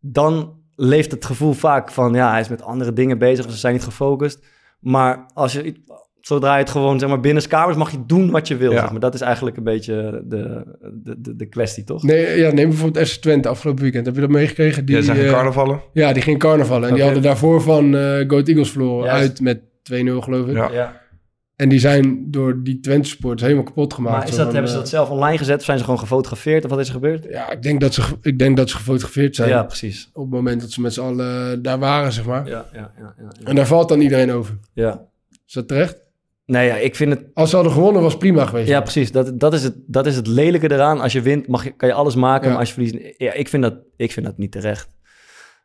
Speaker 2: dan leeft het gevoel vaak van ja, hij is met andere dingen bezig of ze zijn niet gefocust. Maar als je, iets- zodra je het gewoon zeg maar binnenskamers mag je doen wat je wil.
Speaker 5: Ja.
Speaker 2: Zeg maar. Dat is eigenlijk een beetje de, de, de, de kwestie, toch?
Speaker 5: Nee, eh, ja, neem bijvoorbeeld FC Twente afgelopen weekend. Heb je dat meegekregen? Die,
Speaker 4: Ja, zijn geen
Speaker 5: eh,
Speaker 4: carnavallen?
Speaker 5: Ja, die ging carnavallen. En die
Speaker 4: Oké.
Speaker 5: hadden daarvoor van eh Go Ahead Eagles verloren
Speaker 2: Juist.
Speaker 5: uit met 2-0 geloof
Speaker 2: eh,
Speaker 5: ik.
Speaker 2: Ja. Ja.
Speaker 5: En die zijn door die Twente supporters helemaal kapot gemaakt.
Speaker 2: Maar is
Speaker 5: Zo
Speaker 2: dat,
Speaker 5: van,
Speaker 2: hebben ze
Speaker 5: eh,
Speaker 2: dat zelf online gezet of zijn ze gewoon gefotografeerd of wat is er gebeurd?
Speaker 5: Ja, ik denk dat ze, ge- ik denk dat ze gefotografeerd zijn.
Speaker 2: Ja, precies.
Speaker 5: Op het moment dat ze met z'n allen eh, daar waren, zeg maar.
Speaker 2: Ja, ja, ja, ja, ja.
Speaker 5: En daar valt dan iedereen over.
Speaker 2: Ja.
Speaker 5: Is dat terecht?
Speaker 2: Nee, ja, ik vind het...
Speaker 5: Als ze hadden gewonnen was prima geweest.
Speaker 2: Ja, precies. Dat, dat, is het, dat is het lelijke eraan. Als je wint mag je, kan je alles maken,
Speaker 5: Ja.
Speaker 2: maar als je verliest... Ja, ik vind dat, ik vind dat niet terecht.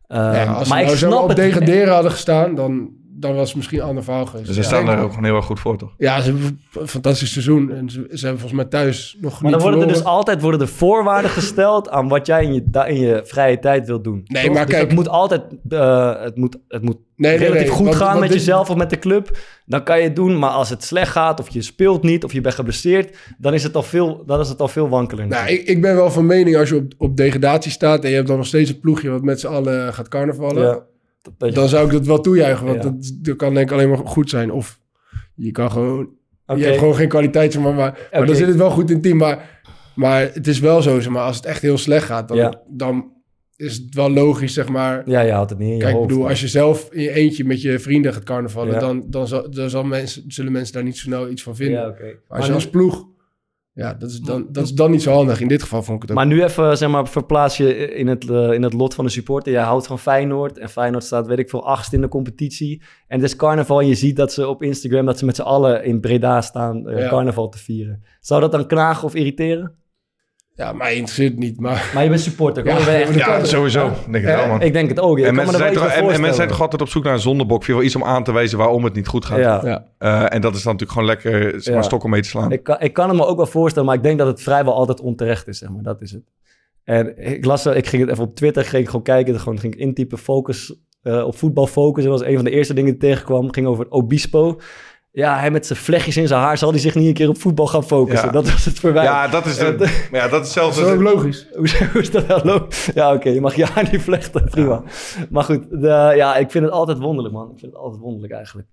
Speaker 5: Ja,
Speaker 2: Ehm,
Speaker 5: als ze
Speaker 2: maar ik
Speaker 5: nou zo
Speaker 2: snap
Speaker 5: op
Speaker 2: het.
Speaker 5: degraderen hadden gestaan, dan, dan was het misschien een ander verhaal geweest.
Speaker 4: Dus ze
Speaker 5: Ja.
Speaker 4: staan daar
Speaker 5: Denk-
Speaker 4: ook gewoon heel erg goed voor, toch?
Speaker 5: Ja, ze hebben een fantastisch seizoen. En ze, ze hebben volgens mij thuis nog
Speaker 2: Maar
Speaker 5: niet
Speaker 2: dan worden er dus
Speaker 5: verloren.
Speaker 2: altijd worden er voorwaarden gesteld aan wat jij in je, da- in je vrije tijd wilt doen.
Speaker 5: Nee,
Speaker 2: Toch?
Speaker 5: maar
Speaker 2: Dus
Speaker 5: kijk-
Speaker 2: het moet altijd eh, het moet, het moet
Speaker 5: Nee, nee,
Speaker 2: relatief
Speaker 5: nee,
Speaker 2: goed
Speaker 5: want-
Speaker 2: gaan
Speaker 5: want
Speaker 2: met
Speaker 5: dit-
Speaker 2: jezelf of met de club. Dan kan je het doen, maar als het slecht gaat of je speelt niet of je bent geblesseerd, dan is het al veel, dan is het al veel wankeler.
Speaker 5: Nou, ik, ik ben wel van mening als je op, op degradatie staat en je hebt dan nog steeds een ploegje wat met z'n allen gaat carnavallen.
Speaker 2: Ja, dat-
Speaker 5: dan zou ik dat wel toejuichen, want
Speaker 2: Ja.
Speaker 5: dat, dat kan denk ik alleen maar goed zijn. Of je kan gewoon,
Speaker 2: Oké.
Speaker 5: je hebt gewoon geen kwaliteit, zeg maar, maar, maar
Speaker 2: Oké.
Speaker 5: dan zit het wel goed in het team. Maar, maar het is wel zo, zeg maar, als het echt heel slecht gaat, dan,
Speaker 2: Ja.
Speaker 5: dan is het wel logisch, zeg maar.
Speaker 2: Ja, je houdt het niet in je
Speaker 5: Kijk, ik
Speaker 2: hoofd,
Speaker 5: bedoel,
Speaker 2: maar-
Speaker 5: als je zelf in je eentje met je vrienden gaat carnavallen,
Speaker 2: Ja.
Speaker 5: dan, dan, zal, dan zal mensen, zullen mensen daar niet zo snel iets van vinden.
Speaker 2: Ja, oké.
Speaker 5: Maar
Speaker 2: Maar
Speaker 5: als je
Speaker 2: nu-
Speaker 5: als ploeg, ja, dat is, dan, dat is dan niet zo handig. In dit geval vond ik het ook.
Speaker 2: Maar nu even, zeg maar, verplaats je in het, eh, in het lot van de supporter. Jij houdt van Feyenoord en Feyenoord staat, weet ik veel, achtste in de competitie. En het is carnaval en je ziet dat ze op Instagram, dat ze met z'n allen in Breda staan eh,
Speaker 5: Ja.
Speaker 2: carnaval te vieren. Zou dat dan knagen of irriteren?
Speaker 5: Ja, mij interesseert het niet, maar...
Speaker 2: Maar je bent supporter, kom,
Speaker 5: Ja,
Speaker 2: je bent echt-
Speaker 5: ja,
Speaker 4: Ja, sowieso.
Speaker 2: Ja.
Speaker 4: Ik Denk het wel, man.
Speaker 2: Ik denk het ook. ja.
Speaker 4: En
Speaker 2: Ik kan me
Speaker 4: mensen,
Speaker 2: er
Speaker 4: zijn
Speaker 2: wel
Speaker 4: toch,
Speaker 2: iets bij
Speaker 4: en, en mensen zijn toch
Speaker 2: voorstellen.
Speaker 4: altijd op zoek naar een zondebok. Wel iets om aan te wijzen waarom het niet goed gaat.
Speaker 2: Ja.
Speaker 4: Eh, en dat is dan natuurlijk gewoon lekker zeg maar,
Speaker 2: Ja.
Speaker 4: stokken mee te slaan.
Speaker 2: Ik kan, ik kan het me ook wel voorstellen, maar ik denk dat het vrijwel altijd onterecht is, zeg maar. Dat is het. En ik las, wel- ik ging het even op Twitter, ging ik gewoon kijken, dan gewoon ging ik intypen focus, eh, op voetbal focus. Dat was een van de eerste dingen die ik tegenkwam, ging over Obispo. Ja, hij met zijn vlechtjes in zijn haar, zal hij zich niet een keer op voetbal gaan focussen?
Speaker 4: Ja.
Speaker 2: Dat was het voor mij.
Speaker 4: Ja, dat is,
Speaker 2: En-
Speaker 4: de, maar ja, dat is zelfs...
Speaker 5: ook logisch.
Speaker 2: Hoezo is dat wel logisch? Ja, oké, je mag je haar niet vlechten, prima. Maar goed, de- ja, ik vind het altijd wonderlijk, man. Ik vind het altijd wonderlijk eigenlijk.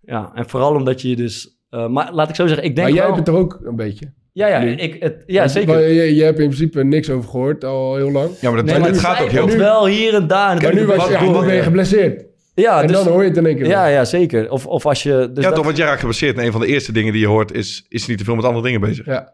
Speaker 2: Ja, en vooral omdat je je dus... eh, maar laat ik zo zeggen, ik denk
Speaker 5: maar jij
Speaker 2: wel-
Speaker 5: hebt het er ook een beetje.
Speaker 2: Ja, ja,
Speaker 5: Nu.
Speaker 2: ik, het, ja
Speaker 5: Want-
Speaker 2: zeker.
Speaker 5: maar je, je hebt in principe niks over gehoord al heel lang.
Speaker 4: Ja, maar dat,
Speaker 2: Nee, maar
Speaker 4: het
Speaker 2: het
Speaker 4: gaat ook
Speaker 2: Het
Speaker 4: heel goed.
Speaker 2: wel hier en daar.
Speaker 5: En nu was je, ja, dan ben je geblesseerd.
Speaker 2: Ja,
Speaker 5: en
Speaker 2: dus-
Speaker 5: dan hoor je het in één keer
Speaker 2: Ja, ja, zeker. Of, of als je... Dus
Speaker 4: ja,
Speaker 2: dat-
Speaker 4: toch, want jij raakt geblesseerd. En een van de eerste dingen die je hoort is... is niet te veel met andere dingen bezig.
Speaker 5: Ja.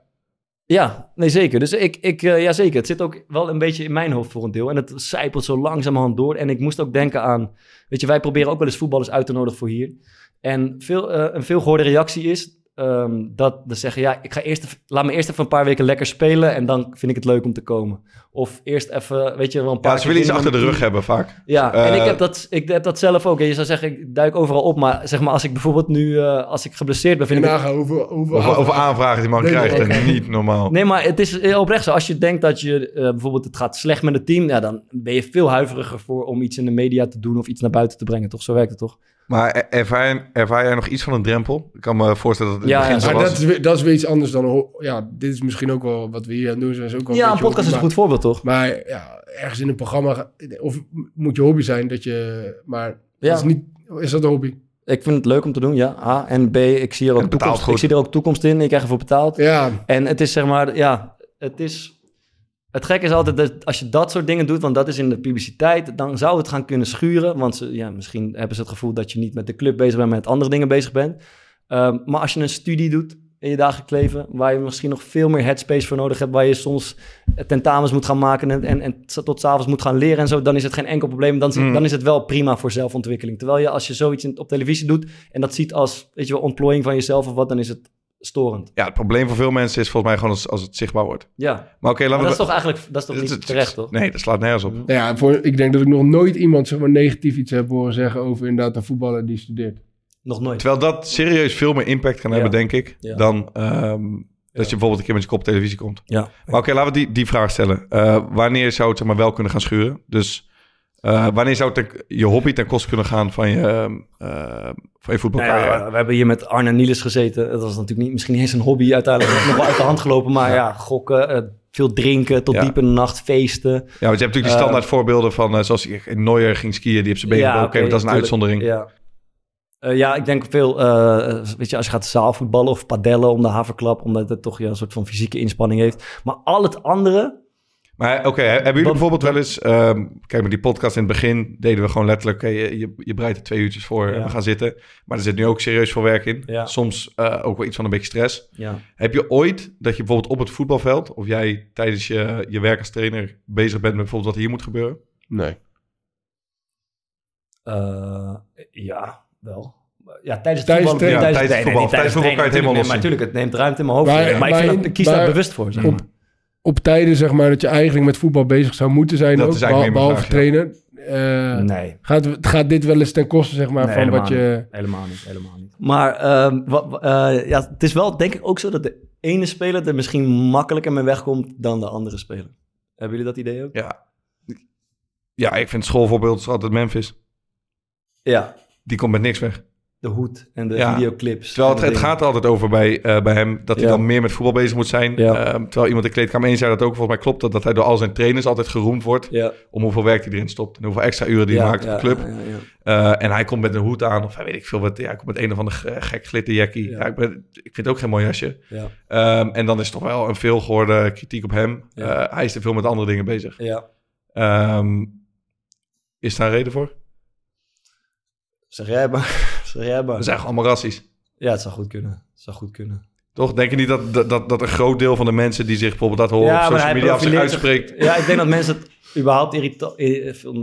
Speaker 2: Ja, nee, zeker. Dus ik, ik eh, ja, zeker. Het zit ook wel een beetje in mijn hoofd voor een deel. En het zijpelt zo langzamerhand door. En ik moest ook denken aan... Weet je, wij proberen ook wel eens voetballers uit te nodigen voor hier. En veel, eh, een veelgehoorde reactie is... ehm, dat ze zeggen, ja, ik ga eerst even, laat me eerst even een paar weken lekker spelen... en dan vind ik het leuk om te komen. Of eerst even, weet je, wel een paar
Speaker 4: Ja, ze willen
Speaker 2: keer
Speaker 4: iets achter de
Speaker 2: doen.
Speaker 4: rug hebben vaak.
Speaker 2: Ja, en
Speaker 4: Eh,
Speaker 2: ik heb, dat, ik heb dat zelf ook. En je zou zeggen, ik duik overal op. Maar zeg maar, als ik bijvoorbeeld nu, eh, als ik geblesseerd ben, vind ik... het-
Speaker 5: nagaan hoeveel, hoeveel,
Speaker 4: Over, over aanvragen die man
Speaker 2: Nee,
Speaker 4: krijgt.
Speaker 2: nee,
Speaker 4: En
Speaker 2: nee.
Speaker 4: niet normaal.
Speaker 2: Nee, maar het is eh, oprecht zo. Als je denkt dat je eh, bijvoorbeeld het gaat slecht met het team, ja, dan ben je veel huiveriger voor om iets in de media te doen of iets naar buiten te brengen, toch? Zo werkt het toch?
Speaker 4: Maar er- ervaar, ervaar jij nog iets van een drempel? Ik kan me voorstellen dat het in
Speaker 2: Ja,
Speaker 4: het begin
Speaker 2: ja.
Speaker 4: zo
Speaker 5: Maar
Speaker 4: was.
Speaker 5: dat is, weer, dat is weer iets anders dan... ho- Ja, dit is misschien ook wel wat we hier aan doen zijn. is ook wel
Speaker 2: ja, een
Speaker 5: beetje
Speaker 2: podcast is een
Speaker 5: hobby,
Speaker 2: goed voorbeeld, toch?
Speaker 5: Maar maar ja, ergens in een programma... ga- Of moet je hobby zijn dat je... Maar
Speaker 2: Ja.
Speaker 5: dat is, niet, is dat een hobby?
Speaker 2: Ik vind het leuk om te doen, ja. A en B, ik zie er ook,
Speaker 4: betaalt
Speaker 2: toekomst,
Speaker 4: goed.
Speaker 2: ik zie er ook toekomst in. Ik krijg ervoor betaald.
Speaker 5: Ja.
Speaker 2: En het is zeg maar, ja, het is... Het gekke is altijd dat als je dat soort dingen doet, want dat is in de publiciteit, dan zou het gaan kunnen schuren. Want ze, ja, misschien hebben ze het gevoel dat je niet met de club bezig bent, maar met andere dingen bezig bent. Ehm, maar als je een studie doet in je dagelijks leven, waar je misschien nog veel meer headspace voor nodig hebt, waar je soms tentamens moet gaan maken en, en, en tot s'avonds moet gaan leren en zo, dan is het geen enkel probleem. Dan, is-
Speaker 8: Mm.
Speaker 2: dan is het wel prima voor zelfontwikkeling. Terwijl je als je zoiets in- op televisie doet en dat ziet als, weet je wel, ontplooiing van jezelf of wat, dan is het storend.
Speaker 4: Ja, het probleem voor veel mensen is volgens mij gewoon als, als het zichtbaar wordt.
Speaker 2: Ja.
Speaker 4: Maar oké, laten
Speaker 2: Maar
Speaker 4: we...
Speaker 2: dat is toch eigenlijk dat is toch niet terecht, toch?
Speaker 4: Nee, dat slaat nergens op.
Speaker 5: Nou ja, voor, ik denk dat ik nog nooit iemand zeg maar, negatief iets heb horen zeggen over inderdaad een voetballer die studeert.
Speaker 2: Nog nooit.
Speaker 4: Terwijl dat serieus veel meer impact kan
Speaker 5: Ja.
Speaker 4: hebben, denk ik,
Speaker 5: Ja.
Speaker 4: dan ehm, dat je bijvoorbeeld een keer met je kop op televisie komt.
Speaker 2: Ja.
Speaker 4: Maar oké, laten we die, die vraag stellen. Eh, wanneer zou het zeg maar, wel kunnen gaan schuren? Dus eh, wanneer zou het ten- je hobby ten koste kunnen gaan van je, ehm, eh, van je voetbalcarrière?
Speaker 2: Nou ja, we hebben hier met Arne Niels gezeten. Dat was natuurlijk niet, misschien niet eens een hobby. Uiteindelijk nog wel uit de hand gelopen. Maar ja, gokken, eh, veel drinken, tot
Speaker 4: Ja.
Speaker 2: diep in de nacht, feesten. Ja, want
Speaker 4: Ja, want je hebt natuurlijk die standaard voorbeelden van, eh, zoals in Neuer ging skiën, die op zijn been
Speaker 2: Ja,
Speaker 4: ja, oké,
Speaker 2: oké,
Speaker 4: maar dat is een
Speaker 2: tuurlijk.
Speaker 4: uitzondering.
Speaker 2: Ja. Eh, ja, ik denk veel, eh, weet je, als je gaat zaalvoetballen of padellen om de haverklap, omdat het toch ja, een soort van fysieke inspanning heeft. Maar al het andere...
Speaker 4: Maar oké, he- hebben jullie bijvoorbeeld wel eens... ehm, kijk, met die podcast in het begin deden we gewoon letterlijk... oké, je, je, je breidt er twee uurtjes voor en
Speaker 2: Ja.
Speaker 4: we gaan zitten. Maar er zit nu ook serieus veel werk in.
Speaker 2: Ja.
Speaker 4: Soms eh, ook wel iets van een beetje stress.
Speaker 2: Ja.
Speaker 4: Heb je ooit dat je bijvoorbeeld op het voetbalveld... of jij tijdens je, je werk als trainer bezig bent met bijvoorbeeld wat hier moet gebeuren?
Speaker 5: Nee.
Speaker 2: eh, ja, wel. Ja, tijdens het
Speaker 5: Tijdens
Speaker 2: voetbal.
Speaker 5: het-
Speaker 2: tijdens,
Speaker 5: Ja,
Speaker 4: tijdens het
Speaker 2: nee,
Speaker 4: voetbal.
Speaker 2: nee,
Speaker 4: Tijdens voetbal kan je het
Speaker 2: training
Speaker 4: helemaal
Speaker 2: natuurlijk,
Speaker 4: loszien.
Speaker 2: Maar natuurlijk, het neemt ruimte in mijn hoofd. ja. Maar, ik, vind dat, ik kies daar
Speaker 5: maar
Speaker 2: bewust voor. zeg maar.
Speaker 5: Op, op tijden zeg maar dat je eigenlijk met voetbal bezig zou moeten zijn,
Speaker 2: Dat
Speaker 5: ook,
Speaker 2: is eigenlijk
Speaker 5: behal-
Speaker 2: meer
Speaker 5: behalve
Speaker 2: mijn
Speaker 5: trainen. eh,
Speaker 2: Nee.
Speaker 5: Gaat, gaat dit wel eens ten koste zeg maar
Speaker 2: Nee,
Speaker 5: van wat
Speaker 2: helemaal
Speaker 5: je?
Speaker 2: niet. Helemaal niet, helemaal niet. Maar ehm, wa- wa- eh, ja, het is wel denk ik ook zo dat de ene speler er misschien makkelijker mee wegkomt dan de andere speler. Hebben jullie dat idee ook?
Speaker 4: Ja. Ja, ik vind het schoolvoorbeeld is altijd Memphis.
Speaker 2: Ja.
Speaker 4: Die komt met niks weg.
Speaker 2: De hoed en de
Speaker 4: Ja.
Speaker 2: videoclips.
Speaker 4: Terwijl
Speaker 2: en
Speaker 4: het,
Speaker 2: de
Speaker 4: het
Speaker 2: dingen.
Speaker 4: gaat er altijd over bij, eh, bij hem dat hij
Speaker 2: Ja.
Speaker 4: dan meer met voetbal bezig moet zijn. Ehm, terwijl iemand in de kleedkamer 1 zei dat ook. Volgens mij klopt dat, dat hij door al zijn trainers altijd geroemd wordt. Om hoeveel werk hij erin stopt. En hoeveel extra uren die
Speaker 2: Ja,
Speaker 4: hij maakt op
Speaker 2: ja,
Speaker 4: de club.
Speaker 2: ja,
Speaker 4: Eh, en hij komt met een hoed aan. Of hij weet ik veel wat. Ja, hij komt met een of ander ge- gek glitterjackie. Ja. ik, ben, ik vind het ook geen mooi jasje.
Speaker 2: Ja.
Speaker 4: Ehm, en dan is toch wel een veelgehoorde kritiek op hem.
Speaker 2: Ja.
Speaker 4: Eh, hij is te veel met andere dingen bezig.
Speaker 2: Ja.
Speaker 4: Ehm, is daar een reden voor?
Speaker 2: Zeg jij maar. zeg jij maar.
Speaker 4: We zijn gewoon allemaal rassies.
Speaker 2: Ja, het zou goed kunnen. Het zou goed kunnen.
Speaker 4: Toch? Denk je niet dat, dat- dat, dat een groot deel van de mensen die zich bijvoorbeeld dat horen op
Speaker 2: maar
Speaker 4: social
Speaker 2: hij
Speaker 4: media of zich
Speaker 2: profileert
Speaker 4: uitspreekt...
Speaker 2: zich- ja, ik denk dat mensen het überhaupt irritant...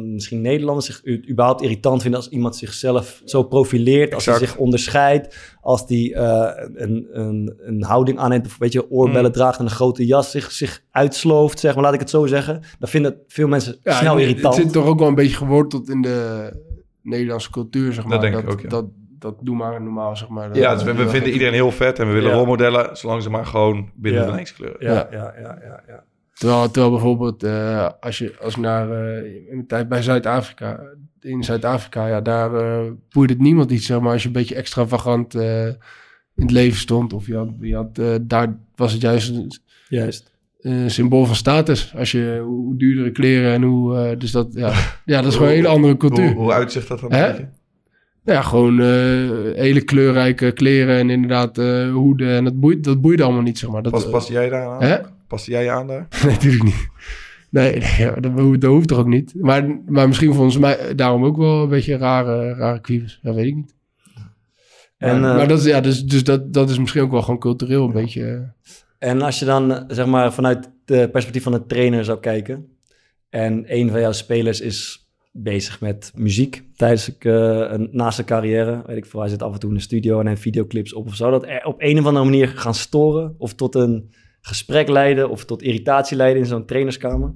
Speaker 2: Misschien Nederlanders zich u- überhaupt irritant vinden... als iemand zichzelf zo profileert. Als hij
Speaker 4: Exact.
Speaker 2: zich onderscheidt. Als hij eh, een, een, een houding aanneemt. Of weet je, oorbellen
Speaker 5: Mm.
Speaker 2: draagt en een grote jas. Zich, zich uitslooft, zeg maar. Laat ik het zo zeggen. Dan vinden het veel mensen
Speaker 5: Ja,
Speaker 2: snel
Speaker 5: het-
Speaker 2: irritant.
Speaker 5: Het zit toch ook wel een beetje geworteld in de Nederlandse cultuur zeg
Speaker 4: Dat
Speaker 5: maar.
Speaker 4: denk ik ook, ja.
Speaker 5: dat, dat doe maar normaal zeg maar.
Speaker 4: Ja, dus we, we vinden iedereen heel vet en we willen
Speaker 5: Ja.
Speaker 4: rolmodellen, zolang ze maar gewoon binnen
Speaker 5: Ja.
Speaker 4: de lijnskleuren.
Speaker 5: Ja,
Speaker 2: ja, ja, ja, ja.
Speaker 5: Terwijl, terwijl bijvoorbeeld, eh, als, je, als ik naar, eh, in mijn tijd bij Zuid-Afrika, in Zuid-Afrika, ja, daar eh boeide het niemand iets, zeg maar, als je een beetje extravagant eh, in het leven stond. Of je had, je had, eh, daar was het juist een
Speaker 2: Juist.
Speaker 5: een symbool van status. Als je, hoe hoe duurdere kleren en hoe, eh, dus dat, ja, ja, dat is gewoon een hele andere cultuur.
Speaker 4: Hoe, hoe uitzicht dat dan?
Speaker 5: Hè?
Speaker 4: een beetje?
Speaker 5: Nou Ja, gewoon eh, hele kleurrijke kleren en inderdaad eh, hoeden. En dat boeit, dat boeit allemaal niet, zeg maar. Dat,
Speaker 4: Pas, past jij daar aan?
Speaker 5: eh, Hè?
Speaker 4: Past jij je aan daar?
Speaker 5: Nee, natuurlijk niet. Nee, nee, ja, dat, hoeft, dat hoeft toch ook niet. Maar, maar misschien vonden ze mij eh, daarom ook wel een beetje rare, rare kwiebes. Dat weet ik niet.
Speaker 2: En,
Speaker 5: maar,
Speaker 2: eh,
Speaker 5: maar dat, is- ja, dus, dus dat, dat is misschien ook wel gewoon cultureel een beetje. eh.
Speaker 2: En als je dan, eh, zeg maar, vanuit het perspectief van een trainer zou kijken. En een van jouw spelers is bezig met muziek tijdens ik, eh, een, naast zijn carrière. Weet ik veel, hij zit af en toe in de studio en heeft videoclips op. Of zou dat er op een of andere manier gaan storen? Of tot een gesprek leiden? Of tot irritatie leiden in zo'n trainerskamer?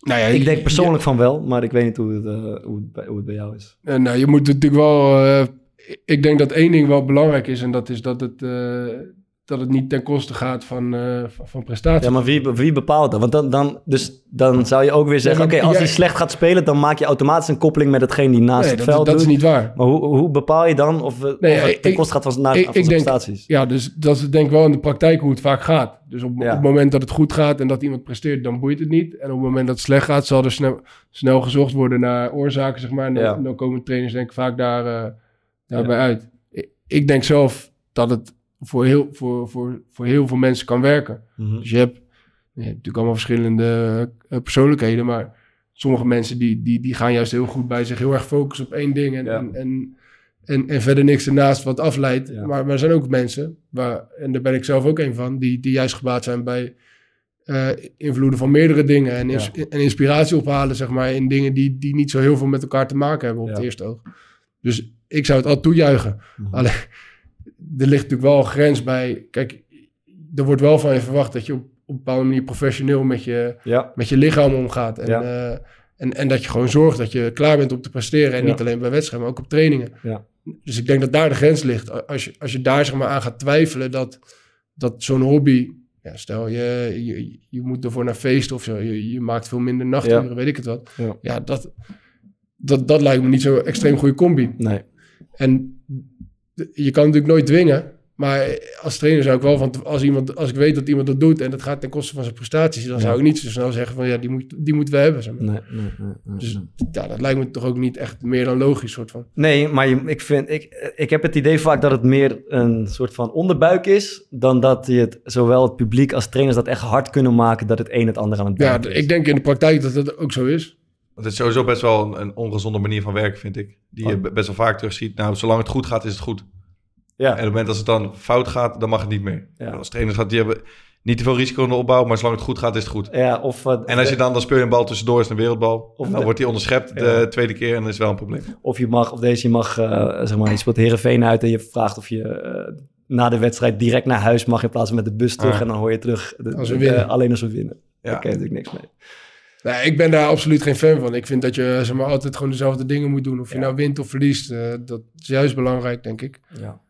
Speaker 5: Nou ja,
Speaker 2: ik
Speaker 5: je-
Speaker 2: denk persoonlijk van wel, maar ik weet niet hoe het, eh, hoe het, bij, hoe het bij jou is.
Speaker 5: Eh, nou, je moet natuurlijk wel... eh, ik denk dat één ding wel belangrijk is. En dat is dat het, eh, dat het niet ten koste gaat van, eh, van, van prestatie.
Speaker 2: Ja, maar wie, be- wie bepaalt dat? Want dan, dan, dus, dan zou je ook weer zeggen:
Speaker 5: Ja,
Speaker 2: oké,
Speaker 5: maar
Speaker 2: als
Speaker 5: jij-
Speaker 2: hij slecht gaat spelen, dan maak je automatisch een koppeling met hetgeen die naast
Speaker 5: Nee,
Speaker 2: het
Speaker 5: dat-
Speaker 2: veld
Speaker 5: dat is
Speaker 2: doet.
Speaker 5: niet waar.
Speaker 2: Maar hoe, hoe bepaal je dan of, we- of het ten koste gaat van, naar, van zijn
Speaker 5: denk,
Speaker 2: prestaties?
Speaker 5: Ja, dus dat is denk ik wel in de praktijk hoe het vaak gaat. Dus op, op het moment dat het goed gaat en dat iemand presteert, dan boeit het niet. En op het moment dat het slecht gaat, zal er snel, snel gezocht worden naar oorzaken, zeg maar. En dan-
Speaker 2: Ja.
Speaker 5: dan komen trainers denk ik vaak daar, eh, daarbij uit. Ik, ik denk zelf dat het voor heel, voor, voor, voor heel veel mensen kan werken.
Speaker 2: Mhm.
Speaker 5: Dus je hebt Je hebt natuurlijk allemaal verschillende eh, persoonlijkheden, maar sommige mensen die, die, die gaan juist heel goed bij zich heel erg focussen op één ding en, en, en, en, en verder niks ernaast wat afleidt. Maar, maar er zijn ook mensen, waar, en daar ben ik zelf ook een van, die, die juist gebaat zijn bij eh, invloeden van meerdere dingen en, ins- en inspiratie ophalen, zeg maar, in dingen die, die niet zo heel veel met elkaar te maken hebben op het eerste oog. Dus ik zou het al toejuichen. Alleen, er ligt natuurlijk wel een grens bij. Kijk, er wordt wel van je verwacht dat je op, op een bepaalde manier professioneel met je,
Speaker 2: Ja.
Speaker 5: met je lichaam omgaat. En,
Speaker 2: Ja.
Speaker 5: eh, en, en dat je gewoon zorgt dat je klaar bent om te presteren. En
Speaker 2: Ja.
Speaker 5: niet alleen bij wedstrijden, maar ook op trainingen.
Speaker 2: Ja.
Speaker 5: Dus ik denk dat daar de grens ligt. A- Als je, als je daar zeg maar aan gaat twijfelen dat, dat zo'n hobby... Ja, stel, je, je, je moet ervoor naar feesten of zo. Je, je maakt veel minder nachturen,
Speaker 2: Ja.
Speaker 5: weet ik het wat.
Speaker 2: Ja.
Speaker 5: ja dat, dat, dat lijkt me niet zo'n extreem goede combi.
Speaker 2: Nee.
Speaker 5: En d- je kan natuurlijk nooit dwingen. Maar als trainer zou ik wel van, als, iemand, als ik weet dat iemand dat doet en dat gaat ten koste van zijn prestaties, dan
Speaker 2: Ja.
Speaker 5: zou ik niet zo snel zeggen van ja, die, moet, die moeten we hebben. Zeg maar.
Speaker 2: Nee, nee, nee, nee,
Speaker 5: dus ja, dat lijkt me toch ook niet echt meer dan logisch, soort van.
Speaker 2: Nee, maar je- ik, vind, ik, ik heb het idee vaak dat het meer een soort van onderbuik is... dan dat je het, zowel het publiek als trainers dat echt hard kunnen maken... dat het een het ander aan het
Speaker 5: Ja,
Speaker 2: doen
Speaker 5: d- ik denk in de praktijk dat dat ook zo is.
Speaker 4: Want het is sowieso best wel een, een ongezonde manier van werken, vind ik. Die je
Speaker 5: Oh.
Speaker 4: be- best wel vaak terugziet. Nou, zolang het goed gaat, is het goed.
Speaker 2: Ja.
Speaker 4: En op het moment dat het dan fout gaat, dan mag het niet meer. Als trainers gaat, die hebben niet te veel risico in de opbouw, maar zolang het goed gaat, is het goed.
Speaker 2: Ja, of, eh,
Speaker 4: en als je dan, dan speel je een bal tussendoor, is het een wereldbal.
Speaker 2: Of
Speaker 4: en dan
Speaker 2: de-
Speaker 4: wordt die onderschept
Speaker 2: Ja.
Speaker 4: de tweede keer en dat is wel een probleem.
Speaker 2: Of je mag, of deze, je mag, eh, zeg maar, je speelt Herenveen uit en je vraagt of je eh, na de wedstrijd direct naar huis mag in plaats van met de bus terug.
Speaker 5: Ah.
Speaker 2: En dan hoor je terug de-
Speaker 5: Als we
Speaker 2: de-
Speaker 5: winnen.
Speaker 2: eh, alleen als we winnen.
Speaker 5: Ja.
Speaker 2: Daar ken je natuurlijk niks mee.
Speaker 5: Nee, ik ben daar absoluut geen fan van. Ik vind dat je zeg maar, altijd gewoon dezelfde dingen moet doen. Of je nou wint of verliest, eh, dat is juist belangrijk, denk ik.
Speaker 2: Ja.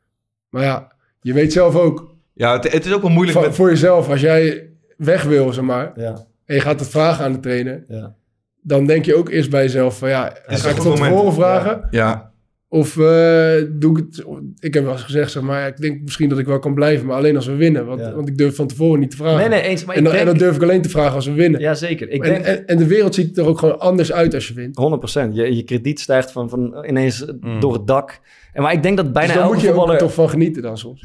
Speaker 5: Maar ja, je weet zelf ook.
Speaker 4: Ja, het, het is ook wel moeilijk.
Speaker 5: Voor, voor jezelf, als jij weg wil, zeg maar,
Speaker 2: Ja.
Speaker 5: en je gaat het vragen aan de trainer,
Speaker 2: Ja.
Speaker 5: dan denk je ook eerst bij jezelf van ja,
Speaker 4: is
Speaker 5: ga ik
Speaker 4: een
Speaker 5: het
Speaker 4: goed
Speaker 5: van
Speaker 4: moment.
Speaker 5: tevoren vragen?
Speaker 4: Ja,
Speaker 5: Of eh, doe ik het... Ik heb wel eens gezegd, zeg maar, ik denk misschien dat ik wel kan blijven, maar alleen als we winnen. Want, want ik durf van tevoren niet te vragen.
Speaker 2: Nee, nee, eens, maar
Speaker 5: en,
Speaker 2: ik
Speaker 5: dan, en
Speaker 2: denk-
Speaker 5: dan durf ik alleen te vragen als we winnen.
Speaker 2: Jazeker. Ik
Speaker 5: en,
Speaker 2: denk-
Speaker 5: en, en de wereld ziet er ook gewoon anders uit als je wint.
Speaker 2: 100%. Je, je krediet stijgt van, van ineens
Speaker 4: Mm.
Speaker 2: door het dak. En, maar ik denk dat bijna
Speaker 5: dus daar
Speaker 2: elke
Speaker 5: moet je ook
Speaker 2: voetballer...
Speaker 5: toch van genieten dan soms.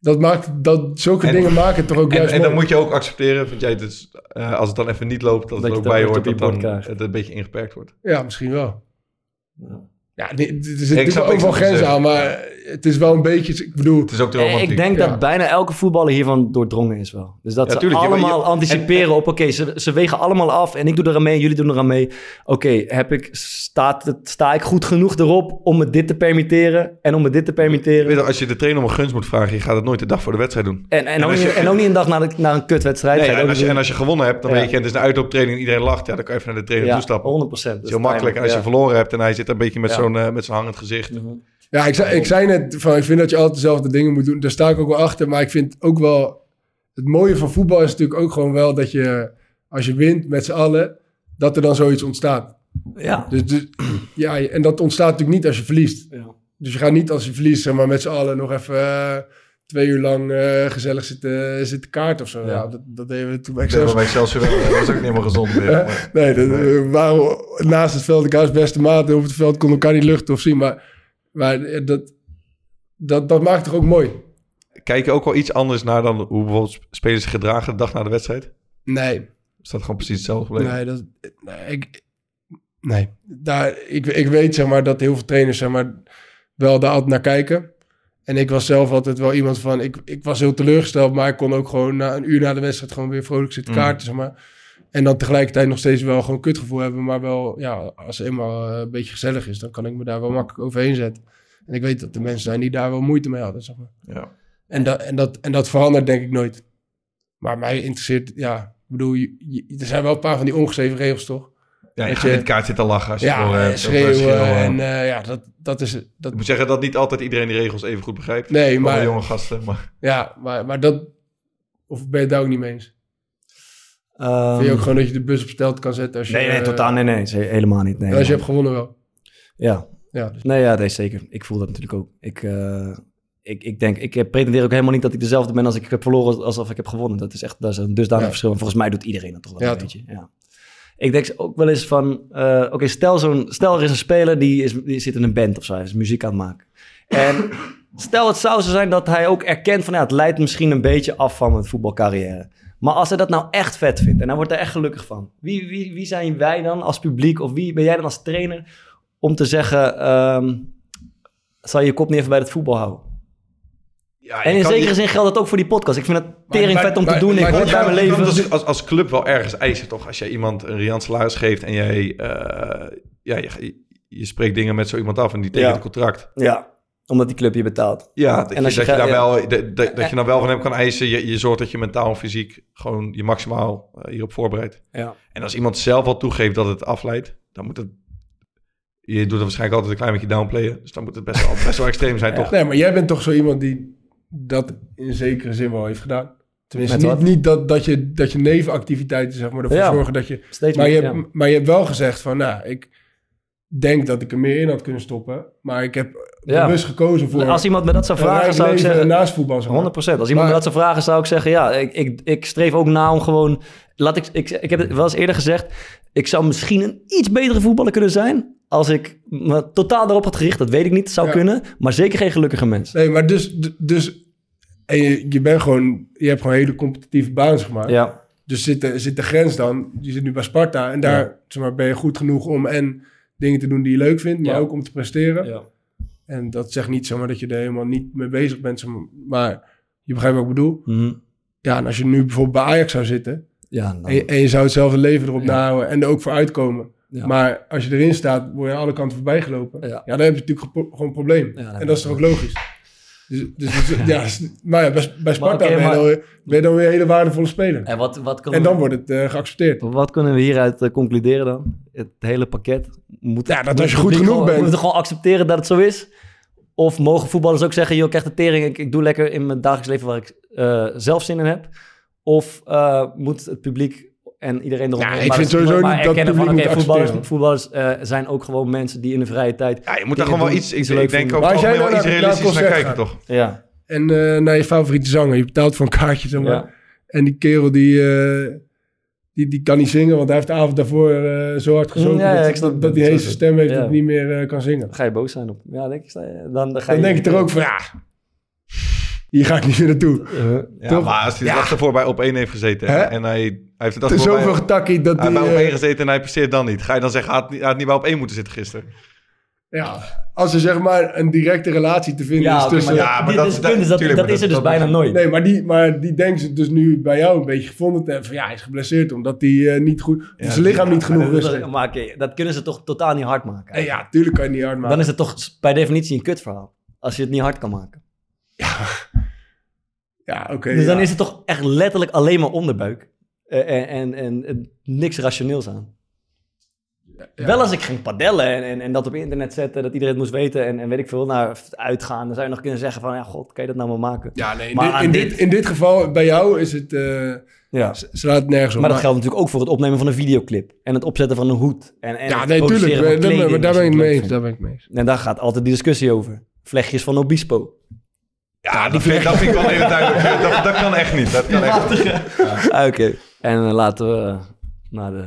Speaker 5: Dat maakt, dat, zulke
Speaker 4: En-
Speaker 5: dingen maken het toch ook
Speaker 4: en,
Speaker 5: juist
Speaker 4: en dan
Speaker 5: mooi.
Speaker 4: moet je ook accepteren, vind jij, dus, eh, als het dan even niet loopt, dat,
Speaker 2: Dat je
Speaker 4: het
Speaker 2: het
Speaker 4: ook bij
Speaker 2: ook
Speaker 4: hoort,
Speaker 2: op je
Speaker 4: dat dan
Speaker 2: bord krijgt.
Speaker 4: het een beetje ingeperkt wordt.
Speaker 5: Ja, misschien wel. Ja, nee, er zitten
Speaker 4: Ik snap-
Speaker 5: natuurlijk
Speaker 4: ik
Speaker 5: overal
Speaker 4: snap wat je
Speaker 5: grenzen
Speaker 4: zegt.
Speaker 5: aan, maar het is wel een beetje... Ik bedoel... Het
Speaker 4: is ook
Speaker 2: Eh, ik denk dat bijna elke voetballer hiervan doordrongen is wel. Dus dat
Speaker 5: Ja,
Speaker 2: ze
Speaker 5: tuurlijk. Je-
Speaker 2: allemaal
Speaker 5: je-
Speaker 2: anticiperen op... Oké, ze, ze wegen allemaal af en ik doe er aan mee, jullie doen er aan mee. Oké, heb ik, staat het, sta ik goed genoeg erop om me dit te permitteren en om me dit te permitteren?
Speaker 4: Weet je, als je de trainer om een gunst moet vragen, je gaat het nooit de dag voor de wedstrijd doen.
Speaker 2: En, en, ook,
Speaker 4: als
Speaker 2: niet,
Speaker 4: je-
Speaker 2: en ook niet een dag na, de- na een kutwedstrijd.
Speaker 4: Nee,
Speaker 2: Ga je
Speaker 4: en,
Speaker 2: ook
Speaker 4: als je,
Speaker 2: niet
Speaker 4: en als je gewonnen hebt, dan
Speaker 2: Ja.
Speaker 4: weet je, het is een uitlooptraining en iedereen lacht. Ja, dan kan je even naar de trainer
Speaker 2: Ja,
Speaker 4: toestappen.
Speaker 2: 100%.
Speaker 4: Dat is
Speaker 2: Dat
Speaker 4: heel
Speaker 2: is
Speaker 4: makkelijk. En als je
Speaker 2: pijnlijk, ja.
Speaker 4: verloren hebt en hij zit een beetje met
Speaker 2: Ja.
Speaker 4: zo'n eh, met zo'n hangend gezicht.
Speaker 5: Ja, ik zei, ik zei net van, ik vind dat je altijd dezelfde dingen moet doen. Daar sta ik ook wel achter. Maar ik vind ook wel, het mooie van voetbal is natuurlijk ook gewoon wel dat je, als je wint met z'n allen, dat er dan zoiets ontstaat.
Speaker 2: Ja.
Speaker 5: Dus, dus- ja, en dat ontstaat natuurlijk niet als je verliest. Dus je gaat niet als je verliest, zeg maar met z'n allen nog even eh, twee uur lang eh, gezellig zitten, zitten kaart of zo. Ja. dat, dat deden we toen bij
Speaker 4: Ik ben
Speaker 5: Excelsior.
Speaker 4: wel bij Excelsior wel. Dat was ook niet helemaal gezond meer.
Speaker 5: Hè?
Speaker 4: Maar-
Speaker 5: nee, dat, we waren naast het veld elkaars beste maat. En op het veld kon elkaar niet luchten of zien. Maar, maar eh, dat, dat, dat maakt toch ook mooi?
Speaker 4: Kijk je ook wel iets anders naar dan hoe bijvoorbeeld spelers zich gedragen de dag na de wedstrijd?
Speaker 5: Nee.
Speaker 4: Is dat gewoon precies hetzelfde gebleven?
Speaker 5: Nee, dat, nee, ik, nee. Daar, ik, ik weet zeg maar, dat heel veel trainers zeg maar, wel daar altijd naar kijken. En ik was zelf altijd wel iemand van... Ik, ik was heel teleurgesteld, maar ik kon ook gewoon na een uur na de wedstrijd... gewoon weer vrolijk zitten
Speaker 2: Mm.
Speaker 5: kaarten, zeg maar. En dan tegelijkertijd nog steeds wel gewoon kutgevoel hebben. Maar wel, ja, als het eenmaal eh, een beetje gezellig is... dan kan ik me daar wel makkelijk overheen zetten. En ik weet dat er mensen zijn die daar wel moeite mee hadden, zeg maar.
Speaker 4: Ja.
Speaker 5: En, dat en, dat, en dat verandert denk ik nooit. Maar mij interesseert, ja, ik bedoel, je- je- er zijn wel een paar van die ongeschreven regels, toch?
Speaker 4: Ja, je
Speaker 5: Dat
Speaker 4: gaat niet kaart zitten lachen als je
Speaker 5: ja,
Speaker 4: verloren
Speaker 5: eh,
Speaker 4: hebt, of, eh,
Speaker 5: schreeuwen
Speaker 4: schreeuwen.
Speaker 5: en eh, ja, dat, dat is... Dat,
Speaker 4: Ik moet zeggen dat niet altijd iedereen de regels even goed begrijpt.
Speaker 5: nee,
Speaker 4: Ook wel
Speaker 5: maar...
Speaker 4: jonge gasten, maar...
Speaker 5: Ja, maar, maar dat... Of ben je het daar ook niet mee eens?
Speaker 2: Ehm,
Speaker 5: Vind je ook gewoon dat je de bus op stelt kan zetten als je...
Speaker 2: Nee, nee,
Speaker 5: eh,
Speaker 2: totaal. Nee, nee, ze- helemaal niet. Nee,
Speaker 5: en als je
Speaker 2: helemaal
Speaker 5: hebt gewonnen wel.
Speaker 2: Ja.
Speaker 5: Ja. dus-
Speaker 2: Dus Nee, ja, nee, zeker. Ik voel dat natuurlijk ook. Ik, eh, ik, ik denk, ik pretendeer ook helemaal niet dat ik dezelfde ben als ik heb verloren alsof ik heb gewonnen. Dat is echt dat is een dusdanig
Speaker 5: Ja.
Speaker 2: verschil. En volgens mij doet iedereen dat toch wel
Speaker 5: Ja,
Speaker 2: een
Speaker 5: toch.
Speaker 2: beetje. Ja. Ik denk ook wel eens van, eh, oké, stel, zo'n, stel er is een speler die, is, die zit in een band of zo, hij is muziek aan het maken. En stel het zou zo zijn dat hij ook erkent van, ja, het leidt misschien een beetje af van mijn voetbalcarrière. Maar als hij dat nou echt vet vindt en hij wordt er echt gelukkig van. Wie, wie, wie zijn wij dan als publiek of wie ben jij dan als trainer om te zeggen, ehm zal je je kop niet even bij het voetbal houden? en in
Speaker 4: kan
Speaker 2: zekere
Speaker 4: niet-
Speaker 2: zin geldt dat ook voor die podcast. Ik vind het tering vet om te
Speaker 4: Maar-
Speaker 2: doen. Ik
Speaker 4: maar
Speaker 2: hoor
Speaker 4: dat
Speaker 2: bij
Speaker 4: kan-
Speaker 2: mijn
Speaker 4: dat
Speaker 2: leven.
Speaker 4: kan dus als, als club wel ergens eisen, toch? Als jij iemand een riant salaris geeft en jij... eh, ja, je, je spreekt dingen met zo iemand af en die tekent
Speaker 2: Ja.
Speaker 4: een contract.
Speaker 2: Ja, omdat die club je betaalt.
Speaker 4: Ja, dat, je, dat, je,
Speaker 2: gaat-
Speaker 4: daar
Speaker 2: ja.
Speaker 4: wel, dat, dat, dat je dan wel van hem kan eisen. Je, je zorgt dat je mentaal en fysiek gewoon je maximaal eh, hierop voorbereidt.
Speaker 2: Ja.
Speaker 4: En als iemand zelf al toegeeft dat het afleidt, dan moet het... Je doet het waarschijnlijk altijd een klein beetje downplayen. Dus dan moet het best wel, best wel extreem zijn, toch?
Speaker 5: Nee, maar jij bent toch zo iemand die dat in zekere zin wel heeft gedaan. Tenminste,
Speaker 4: Met
Speaker 5: niet,
Speaker 4: wat?
Speaker 5: niet dat, dat, je, dat je nevenactiviteiten, zeg maar, ervoor
Speaker 2: Ja,
Speaker 5: zorgen dat je...
Speaker 2: steeds
Speaker 5: maar,
Speaker 2: meer,
Speaker 5: je hebt,
Speaker 2: ja.
Speaker 5: maar je hebt wel gezegd van, nou, ik denk dat ik er meer in had kunnen stoppen. Maar ik heb
Speaker 2: Ja.
Speaker 5: bewust gekozen voor...
Speaker 2: Nou, Als iemand me dat zou
Speaker 5: een
Speaker 2: vragen,
Speaker 5: rijk
Speaker 2: zou ik
Speaker 5: leven
Speaker 2: zeggen...
Speaker 5: Naast voetbal, zeg maar.
Speaker 2: 100 Als iemand me dat zou vragen, zou ik zeggen... Ja, ik, ik, ik streef ook na om gewoon... Laat ik, ik, ik heb het wel eens eerder gezegd... Ik zou misschien een iets betere voetballer kunnen zijn... als ik me totaal daarop had gericht. Dat weet ik niet, het zou
Speaker 5: Ja.
Speaker 2: kunnen. Maar zeker geen gelukkige mens.
Speaker 5: Nee, maar dus... d- dus en je, je bent gewoon... Je hebt gewoon hele competitieve baans gemaakt.
Speaker 2: Ja.
Speaker 5: Dus zit de, zit de grens dan... Je zit nu bij Sparta en daar
Speaker 2: Ja.
Speaker 5: zeg maar, ben je goed genoeg om... en dingen te doen die je leuk vindt, maar
Speaker 2: Ja.
Speaker 5: ook om te presteren.
Speaker 2: Ja.
Speaker 5: En dat zegt niet zomaar dat je er helemaal niet mee bezig bent. zeg maar- Maar je begrijpt wat ik bedoel.
Speaker 2: Mhm.
Speaker 5: Ja, en als je nu bijvoorbeeld bij Ajax zou zitten...
Speaker 2: Ja, dan-
Speaker 5: en, je, en je zou hetzelfde leven erop nahouden en er ook voor uitkomen... Maar als je erin staat, word je aan alle kanten voorbij gelopen. Ja, dan heb je natuurlijk gepo- gewoon een probleem. en dat is toch ook logisch? Dus, dus, dus- ja, is- maar ja, bij, bij
Speaker 2: oké,
Speaker 5: Sparta ben, je
Speaker 2: maar-
Speaker 5: dan weer, ben je dan weer een hele waardevolle speler.
Speaker 2: En, wat, wat
Speaker 5: en dan wordt het eh, geaccepteerd.
Speaker 2: Wat kunnen we hieruit eh, concluderen dan? Het hele pakket. Moet, ja,
Speaker 5: dat als je goed genoeg bent.
Speaker 2: We moeten gewoon accepteren dat het zo is. Of mogen voetballers ook zeggen, joh, ik krijg de tering. Ik, ik doe lekker in mijn dagelijks leven waar ik eh, zelf zin in heb. Of eh, moet het publiek en iedereen eromheen...
Speaker 5: ik vind sowieso niet dat het
Speaker 2: erkennen
Speaker 5: publiek
Speaker 2: oké,
Speaker 5: moet
Speaker 2: voetballers,
Speaker 5: accepteren.
Speaker 2: voetballers eh, zijn ook gewoon mensen die in de vrije tijd... Ja,
Speaker 4: je moet daar gewoon wel iets- ik- ik denk over
Speaker 5: Maar als
Speaker 4: het
Speaker 5: jij
Speaker 4: algemeen wel
Speaker 5: nou naar,
Speaker 4: iets
Speaker 5: naar een
Speaker 4: realistisch naar
Speaker 5: concert
Speaker 4: kijken,
Speaker 5: gaat
Speaker 4: toch?
Speaker 2: Ja.
Speaker 5: En eh, naar je favoriete zanger. Je betaalt voor een kaartje, zeg maar.
Speaker 2: Ja.
Speaker 5: En die kerel die, eh, die, die kan niet zingen, want hij heeft de avond daarvoor eh, zo hard gezongen...
Speaker 2: Ja, ja, ik
Speaker 5: dat,
Speaker 2: snap-
Speaker 5: dat, dat
Speaker 2: dat
Speaker 5: die
Speaker 2: is
Speaker 5: hele
Speaker 2: zo.
Speaker 5: stem heeft
Speaker 2: Ja.
Speaker 5: dat hij niet meer eh, kan zingen.
Speaker 2: Ga je boos zijn op... Ja, denk ik, dan, dan, ga
Speaker 5: Dan
Speaker 2: je-
Speaker 5: denk ik er ook van, ja, hier ga ik niet meer naartoe.
Speaker 2: Eh,
Speaker 4: Ja,
Speaker 5: Toch?
Speaker 4: maar als hij de dag ervoor bij op 1 heeft gezeten
Speaker 5: Hè?
Speaker 4: en hij, hij heeft de dag
Speaker 5: Het is
Speaker 4: ervoor
Speaker 5: zoveel
Speaker 4: bij,
Speaker 5: getakkie dat
Speaker 4: hij heeft
Speaker 5: die,
Speaker 4: bij op
Speaker 5: eh,
Speaker 4: 1 gezeten en hij presteert dan niet. Ga je dan zeggen, hij had, niet- hij had niet bij op 1 moeten zitten gisteren?
Speaker 5: Ja, als er zeg maar een directe relatie te vinden
Speaker 2: Ja,
Speaker 5: is
Speaker 2: oké,
Speaker 5: dus tussen...
Speaker 2: maar ja, maar Dit dat is het is- punt, is dat- tuurlijk, dat maar is er dat- dus dat- bijna nooit.
Speaker 5: Nee, maar die, maar die denken ze dus nu bij jou een beetje gevonden te hebben. Van ja, hij is geblesseerd omdat hij eh, niet goed...
Speaker 2: Ja,
Speaker 5: zijn lichaam niet
Speaker 2: maar
Speaker 5: genoeg
Speaker 2: dat-
Speaker 5: rust
Speaker 2: dat,
Speaker 5: heeft.
Speaker 2: maar oké, dat kunnen ze toch totaal niet hard maken.
Speaker 5: En ja, tuurlijk kan je het niet hard maken.
Speaker 2: Dan is het toch s- per definitie een kutverhaal. Als je het niet hard kan maken.
Speaker 5: Ja, oké.
Speaker 2: dus dan
Speaker 5: ja.
Speaker 2: is het toch echt letterlijk alleen maar onderbuik. Eh, En, en, en, en niks rationeels aan. Wel als ik ging padellen en, en, en dat op internet zetten, dat iedereen het moest weten en, en weet ik veel, naar uitgaan, dan zou je nog kunnen zeggen van, ja god, kan je dat nou maar maken?
Speaker 5: Ja, nee, in,
Speaker 2: maar
Speaker 5: dit,
Speaker 2: aan
Speaker 5: in, dit, in dit geval, bij jou is het... eh,
Speaker 2: Ja.
Speaker 5: s- slaat het nergens op.
Speaker 2: Maar dat geldt natuurlijk ook voor het opnemen van een videoclip en het opzetten van een hoed. En, en
Speaker 5: Ja,
Speaker 2: het
Speaker 5: nee,
Speaker 2: produceren
Speaker 5: tuurlijk.
Speaker 2: van
Speaker 5: eh, dat-
Speaker 2: kleding dus
Speaker 5: maar Daar
Speaker 2: als je
Speaker 5: ben ik
Speaker 2: het
Speaker 5: mee
Speaker 2: leuk
Speaker 5: eens.
Speaker 2: vindt.
Speaker 5: Daar ben ik mee eens.
Speaker 2: En daar gaat altijd die discussie over. Vlechtjes van Obispo.
Speaker 4: Ja, dat vind, dat vind ik wel heel duidelijk. Dat, dat kan echt niet. Dat kan echt niet.
Speaker 2: Ah, Oké. En eh, laten we eh, naar de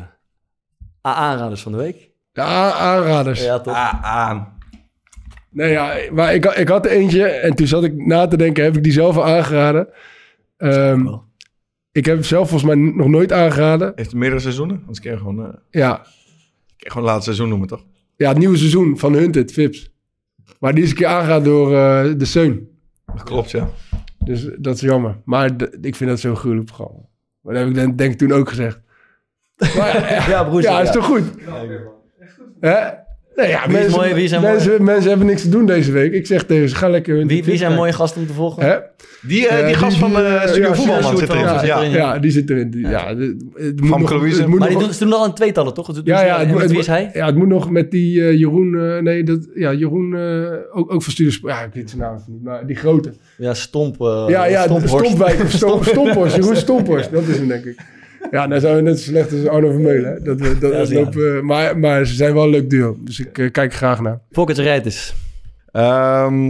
Speaker 2: a- aanraders van de week.
Speaker 5: De a- aanraders.
Speaker 2: Ja, toch?
Speaker 4: Ah, aan.
Speaker 5: Nou ja, maar ik, ik had eentje en toen zat ik na te denken, heb ik die zelf al aangeraden? Ehm, ik heb hem zelf volgens mij nog nooit aangeraden.
Speaker 4: Heeft meerdere seizoenen? Anders kun je gewoon, eh, kun
Speaker 5: Ja,
Speaker 4: je gewoon het laatste seizoen noemen, toch?
Speaker 5: ja, het nieuwe seizoen van Hunted, Vips. Maar die is een keer aangeraden door eh, de Seun.
Speaker 4: Dat klopt, ja.
Speaker 5: Dus dat is jammer. Maar d- ik vind dat zo'n gruwelijk programma. Maar dat heb ik dan- denk ik toen ook gezegd. eh,
Speaker 2: ja, broer.
Speaker 5: ja, is toch goed? Hè? Nee, ja,
Speaker 2: Wie is
Speaker 5: mensen,
Speaker 2: mooi, wie zijn
Speaker 5: mensen, mensen hebben niks te doen deze week. Ik zeg tegen ze, ga lekker Hunted
Speaker 2: Wie, wie
Speaker 5: Vips
Speaker 2: zijn mooie
Speaker 5: kijken.
Speaker 2: gasten om te volgen?
Speaker 5: Hè?
Speaker 4: Die, eh,
Speaker 5: Eh,
Speaker 4: die gast van eh
Speaker 5: eh,
Speaker 4: Studio
Speaker 5: ja,
Speaker 4: Voetbalman
Speaker 5: Stuart
Speaker 4: zit erin.
Speaker 5: Voetbalman
Speaker 4: Ja,
Speaker 5: Ja, ja, die zit erin. Die- Ja, de- het moet nog- het moet
Speaker 2: maar die
Speaker 5: nog-
Speaker 2: doen, ze doen al in tweetallen, toch? Ze doen
Speaker 5: Ja,
Speaker 2: ze-
Speaker 5: ja,
Speaker 2: en
Speaker 5: het, moet-
Speaker 2: met
Speaker 5: het
Speaker 2: wie
Speaker 5: moet-
Speaker 2: is hij?
Speaker 5: ja, het moet nog met die eh, Jeroen... eh, nee, dat, ja, Jeroen eh, ook, ook van Studio... Sp- Ja, ik weet zijn naam even niet, maar die grote.
Speaker 2: Ja, Stomp. eh,
Speaker 5: ja, ja,
Speaker 2: Stomphorst.
Speaker 5: Stompwijk. of Stom-
Speaker 2: Stomp-
Speaker 5: Stomphorst, Jeroen Stomphorst. Dat is hem, denk ik. Ja, nou zijn we net zo slecht als Arno Vermeulen. hè. Dat, we- dat,
Speaker 2: Ja,
Speaker 5: dat
Speaker 2: ja.
Speaker 5: lopen, eh, maar, maar ze zijn wel een leuk duo. Dus ik eh, kijk er graag naar.
Speaker 2: Volkert Rijters.
Speaker 4: Ehm,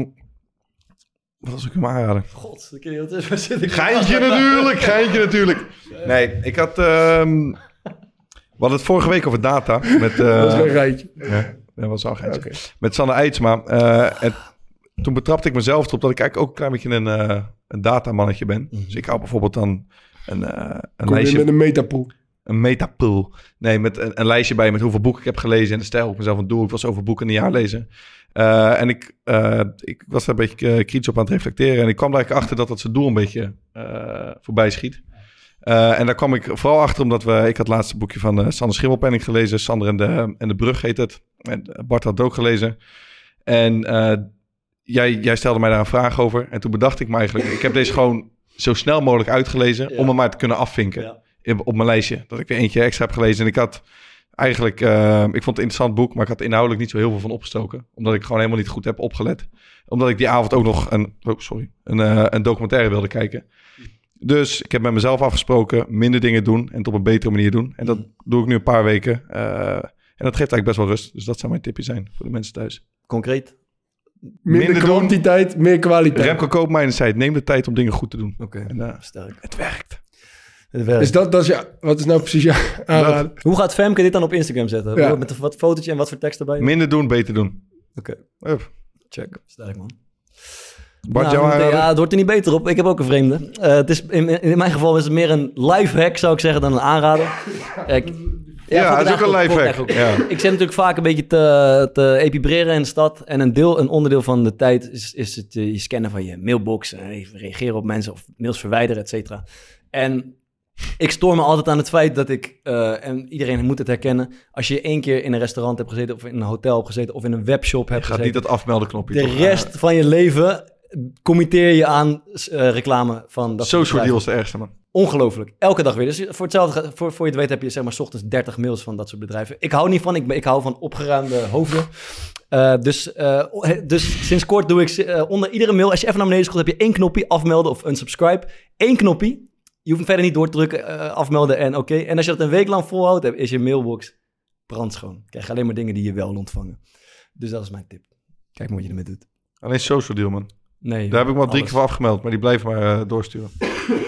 Speaker 4: wat was ik hem aanraden?
Speaker 2: God, ik weet niet wat het is, waar zit ik?
Speaker 4: Geintje natuurlijk, geintje natuurlijk. Nee, ik had... ehm, we hadden het vorige week over data. Met, eh,
Speaker 5: Dat is een rijtje.
Speaker 4: Ja, dat was al een geintje. Met Sanne Eidsma. eh, en toen betrapte ik mezelf erop dat ik eigenlijk ook een klein beetje een, eh, een datamannetje ben. Dus ik hou bijvoorbeeld dan een, eh, een
Speaker 5: Mhm. Kom je
Speaker 4: lijstje...
Speaker 5: met een metapool.
Speaker 4: Een metapool. Nee, met een, een lijstje bij met hoeveel boeken ik heb gelezen. En de stijl op mezelf aan doel. Ik was over boeken in een jaar lezen. Eh, en ik, eh, ik was daar een beetje eh, kritisch op aan het reflecteren. En ik kwam er eigenlijk achter dat dat zijn doel een beetje eh, voorbij schiet. Eh, en daar kwam ik vooral achter omdat we... Ik had het laatste boekje van eh, Sander Schimmelpenning gelezen. Sander en de, en de Brug heet het. En eh, Bart had het ook gelezen. En eh, jij, jij stelde mij daar een vraag over. En toen bedacht ik me eigenlijk... Ik heb deze gewoon zo snel mogelijk uitgelezen... om hem maar te kunnen afvinken in- op mijn lijstje. Dat ik er eentje extra heb gelezen. En ik had eigenlijk... eh, ik vond het een interessant boek... maar ik had er inhoudelijk niet zo heel veel van opgestoken. Omdat ik gewoon helemaal niet goed heb opgelet. Omdat ik die avond ook nog een... Oh, sorry. Een, eh, een documentaire wilde kijken. Dus ik heb met mezelf afgesproken minder dingen doen en het op een betere manier doen. En dat doe ik nu een paar weken. eh, en dat geeft eigenlijk best wel rust. Dus dat zou mijn tipje zijn voor de mensen thuis.
Speaker 2: Concreet?
Speaker 5: Minder, kwantiteit, meer kwaliteit.
Speaker 4: Remco Koopmijn zei het, neem de tijd om dingen goed te doen. eh,
Speaker 2: Oké, sterk.
Speaker 4: Het werkt.
Speaker 2: Het werkt.
Speaker 5: Dus dat, dat is ja, wat is nou precies ja, aanraden?
Speaker 2: Hoe gaat Femke dit dan op Instagram zetten?
Speaker 5: Ja.
Speaker 2: Met een wat fotootje en wat voor tekst erbij?
Speaker 4: Minder doen, beter doen.
Speaker 2: Oké.
Speaker 4: Hup.
Speaker 2: Check. Sterk man.
Speaker 4: Bart,
Speaker 2: Nou,
Speaker 4: jouw
Speaker 2: meteen-
Speaker 4: aanrader?
Speaker 2: ja, het wordt er niet beter op. Ik heb ook een vreemde. Eh, het is, in, in mijn geval is het meer een lifehack, zou ik zeggen, dan een aanrader. Kijk,
Speaker 4: Ja,
Speaker 2: vond ik
Speaker 4: dat is ook een
Speaker 2: eigenlijk vond ik
Speaker 4: lifehack.
Speaker 2: eigenlijk ook.
Speaker 4: Ja.
Speaker 2: Ik zit natuurlijk vaak een beetje te, te epibreren in de stad. En een, deel, een onderdeel van de tijd is, is het eh, je scannen van je mailbox. En even reageren op mensen of mails verwijderen, et cetera. En ik stoor me altijd aan het feit dat ik, eh, en iedereen moet het herkennen, als je één keer in een restaurant hebt gezeten, of in een hotel hebt gezeten, of in een webshop hebt
Speaker 4: Je gaat
Speaker 2: gezeten.
Speaker 4: niet dat afmelden knopje.
Speaker 2: De rest van je leven committeer je aan eh, reclame van dat soort
Speaker 4: Social
Speaker 2: bedrijven.
Speaker 4: deal is de ergste man.
Speaker 2: Ongelooflijk. Elke dag weer. Dus voor hetzelfde, ge- voor, voor je het weet heb je zeg maar 's ochtends 30 mails van dat soort bedrijven. Ik hou niet van, ik, ben- ik hou van opgeruimde hoofden. Eh, dus, eh, o- he- dus sinds kort doe ik ze- eh, onder iedere mail, als je even naar beneden scrolt, heb je één knopje afmelden of unsubscribe. Eén knopje. Je hoeft hem verder niet door te drukken, eh, afmelden en oké. En als je dat een week lang volhoudt, heb- is je mailbox brandschoon. Krijg je alleen maar dingen die je wel wil ontvangen. Dus dat is mijn tip. Kijk maar wat je ermee doet.
Speaker 4: Alleen social deal, man.
Speaker 2: Nee,
Speaker 4: Daar heb ik me al drie
Speaker 2: alles.
Speaker 4: keer voor afgemeld, maar die blijven maar eh, doorsturen.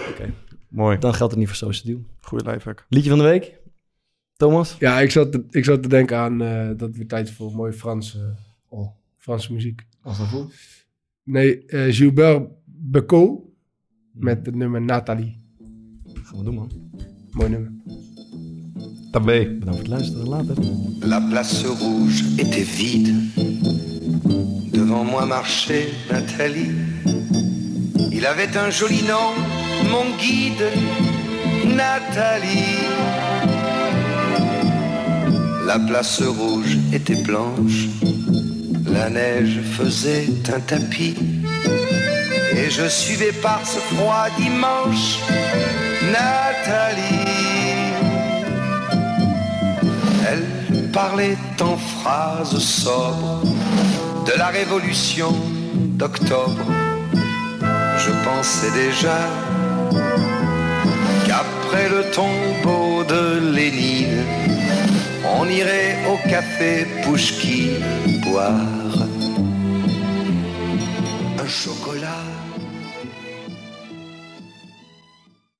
Speaker 2: Oké.
Speaker 4: Mooi.
Speaker 2: Dan geldt het niet voor social deal.
Speaker 4: Goeie lifehack.
Speaker 2: Liedje van de week? Thomas?
Speaker 5: Ja, ik zat, te- ik zat te denken aan eh, dat het weer tijd is voor mooie Franse, oh, Franse muziek.
Speaker 2: Als dat voelt.
Speaker 5: Nee, eh, Gilbert Becot met het nummer Nathalie.
Speaker 2: Gaan we doen, man.
Speaker 5: Mooi nummer.
Speaker 4: Tabé.
Speaker 2: Bedankt voor het luisteren. Later.
Speaker 13: La place rouge était vide. Devant moi marchait Nathalie. Il avait un joli nom, mon guide, Nathalie. La place rouge était blanche. La neige faisait un tapis. Et je suivais par ce froid dimanche Nathalie. Elle parlait en phrases sobres de la révolution d'octobre. Je pensais déjà qu'après le tombeau de Lénine, on irait au café Pouchki boire un chocolat.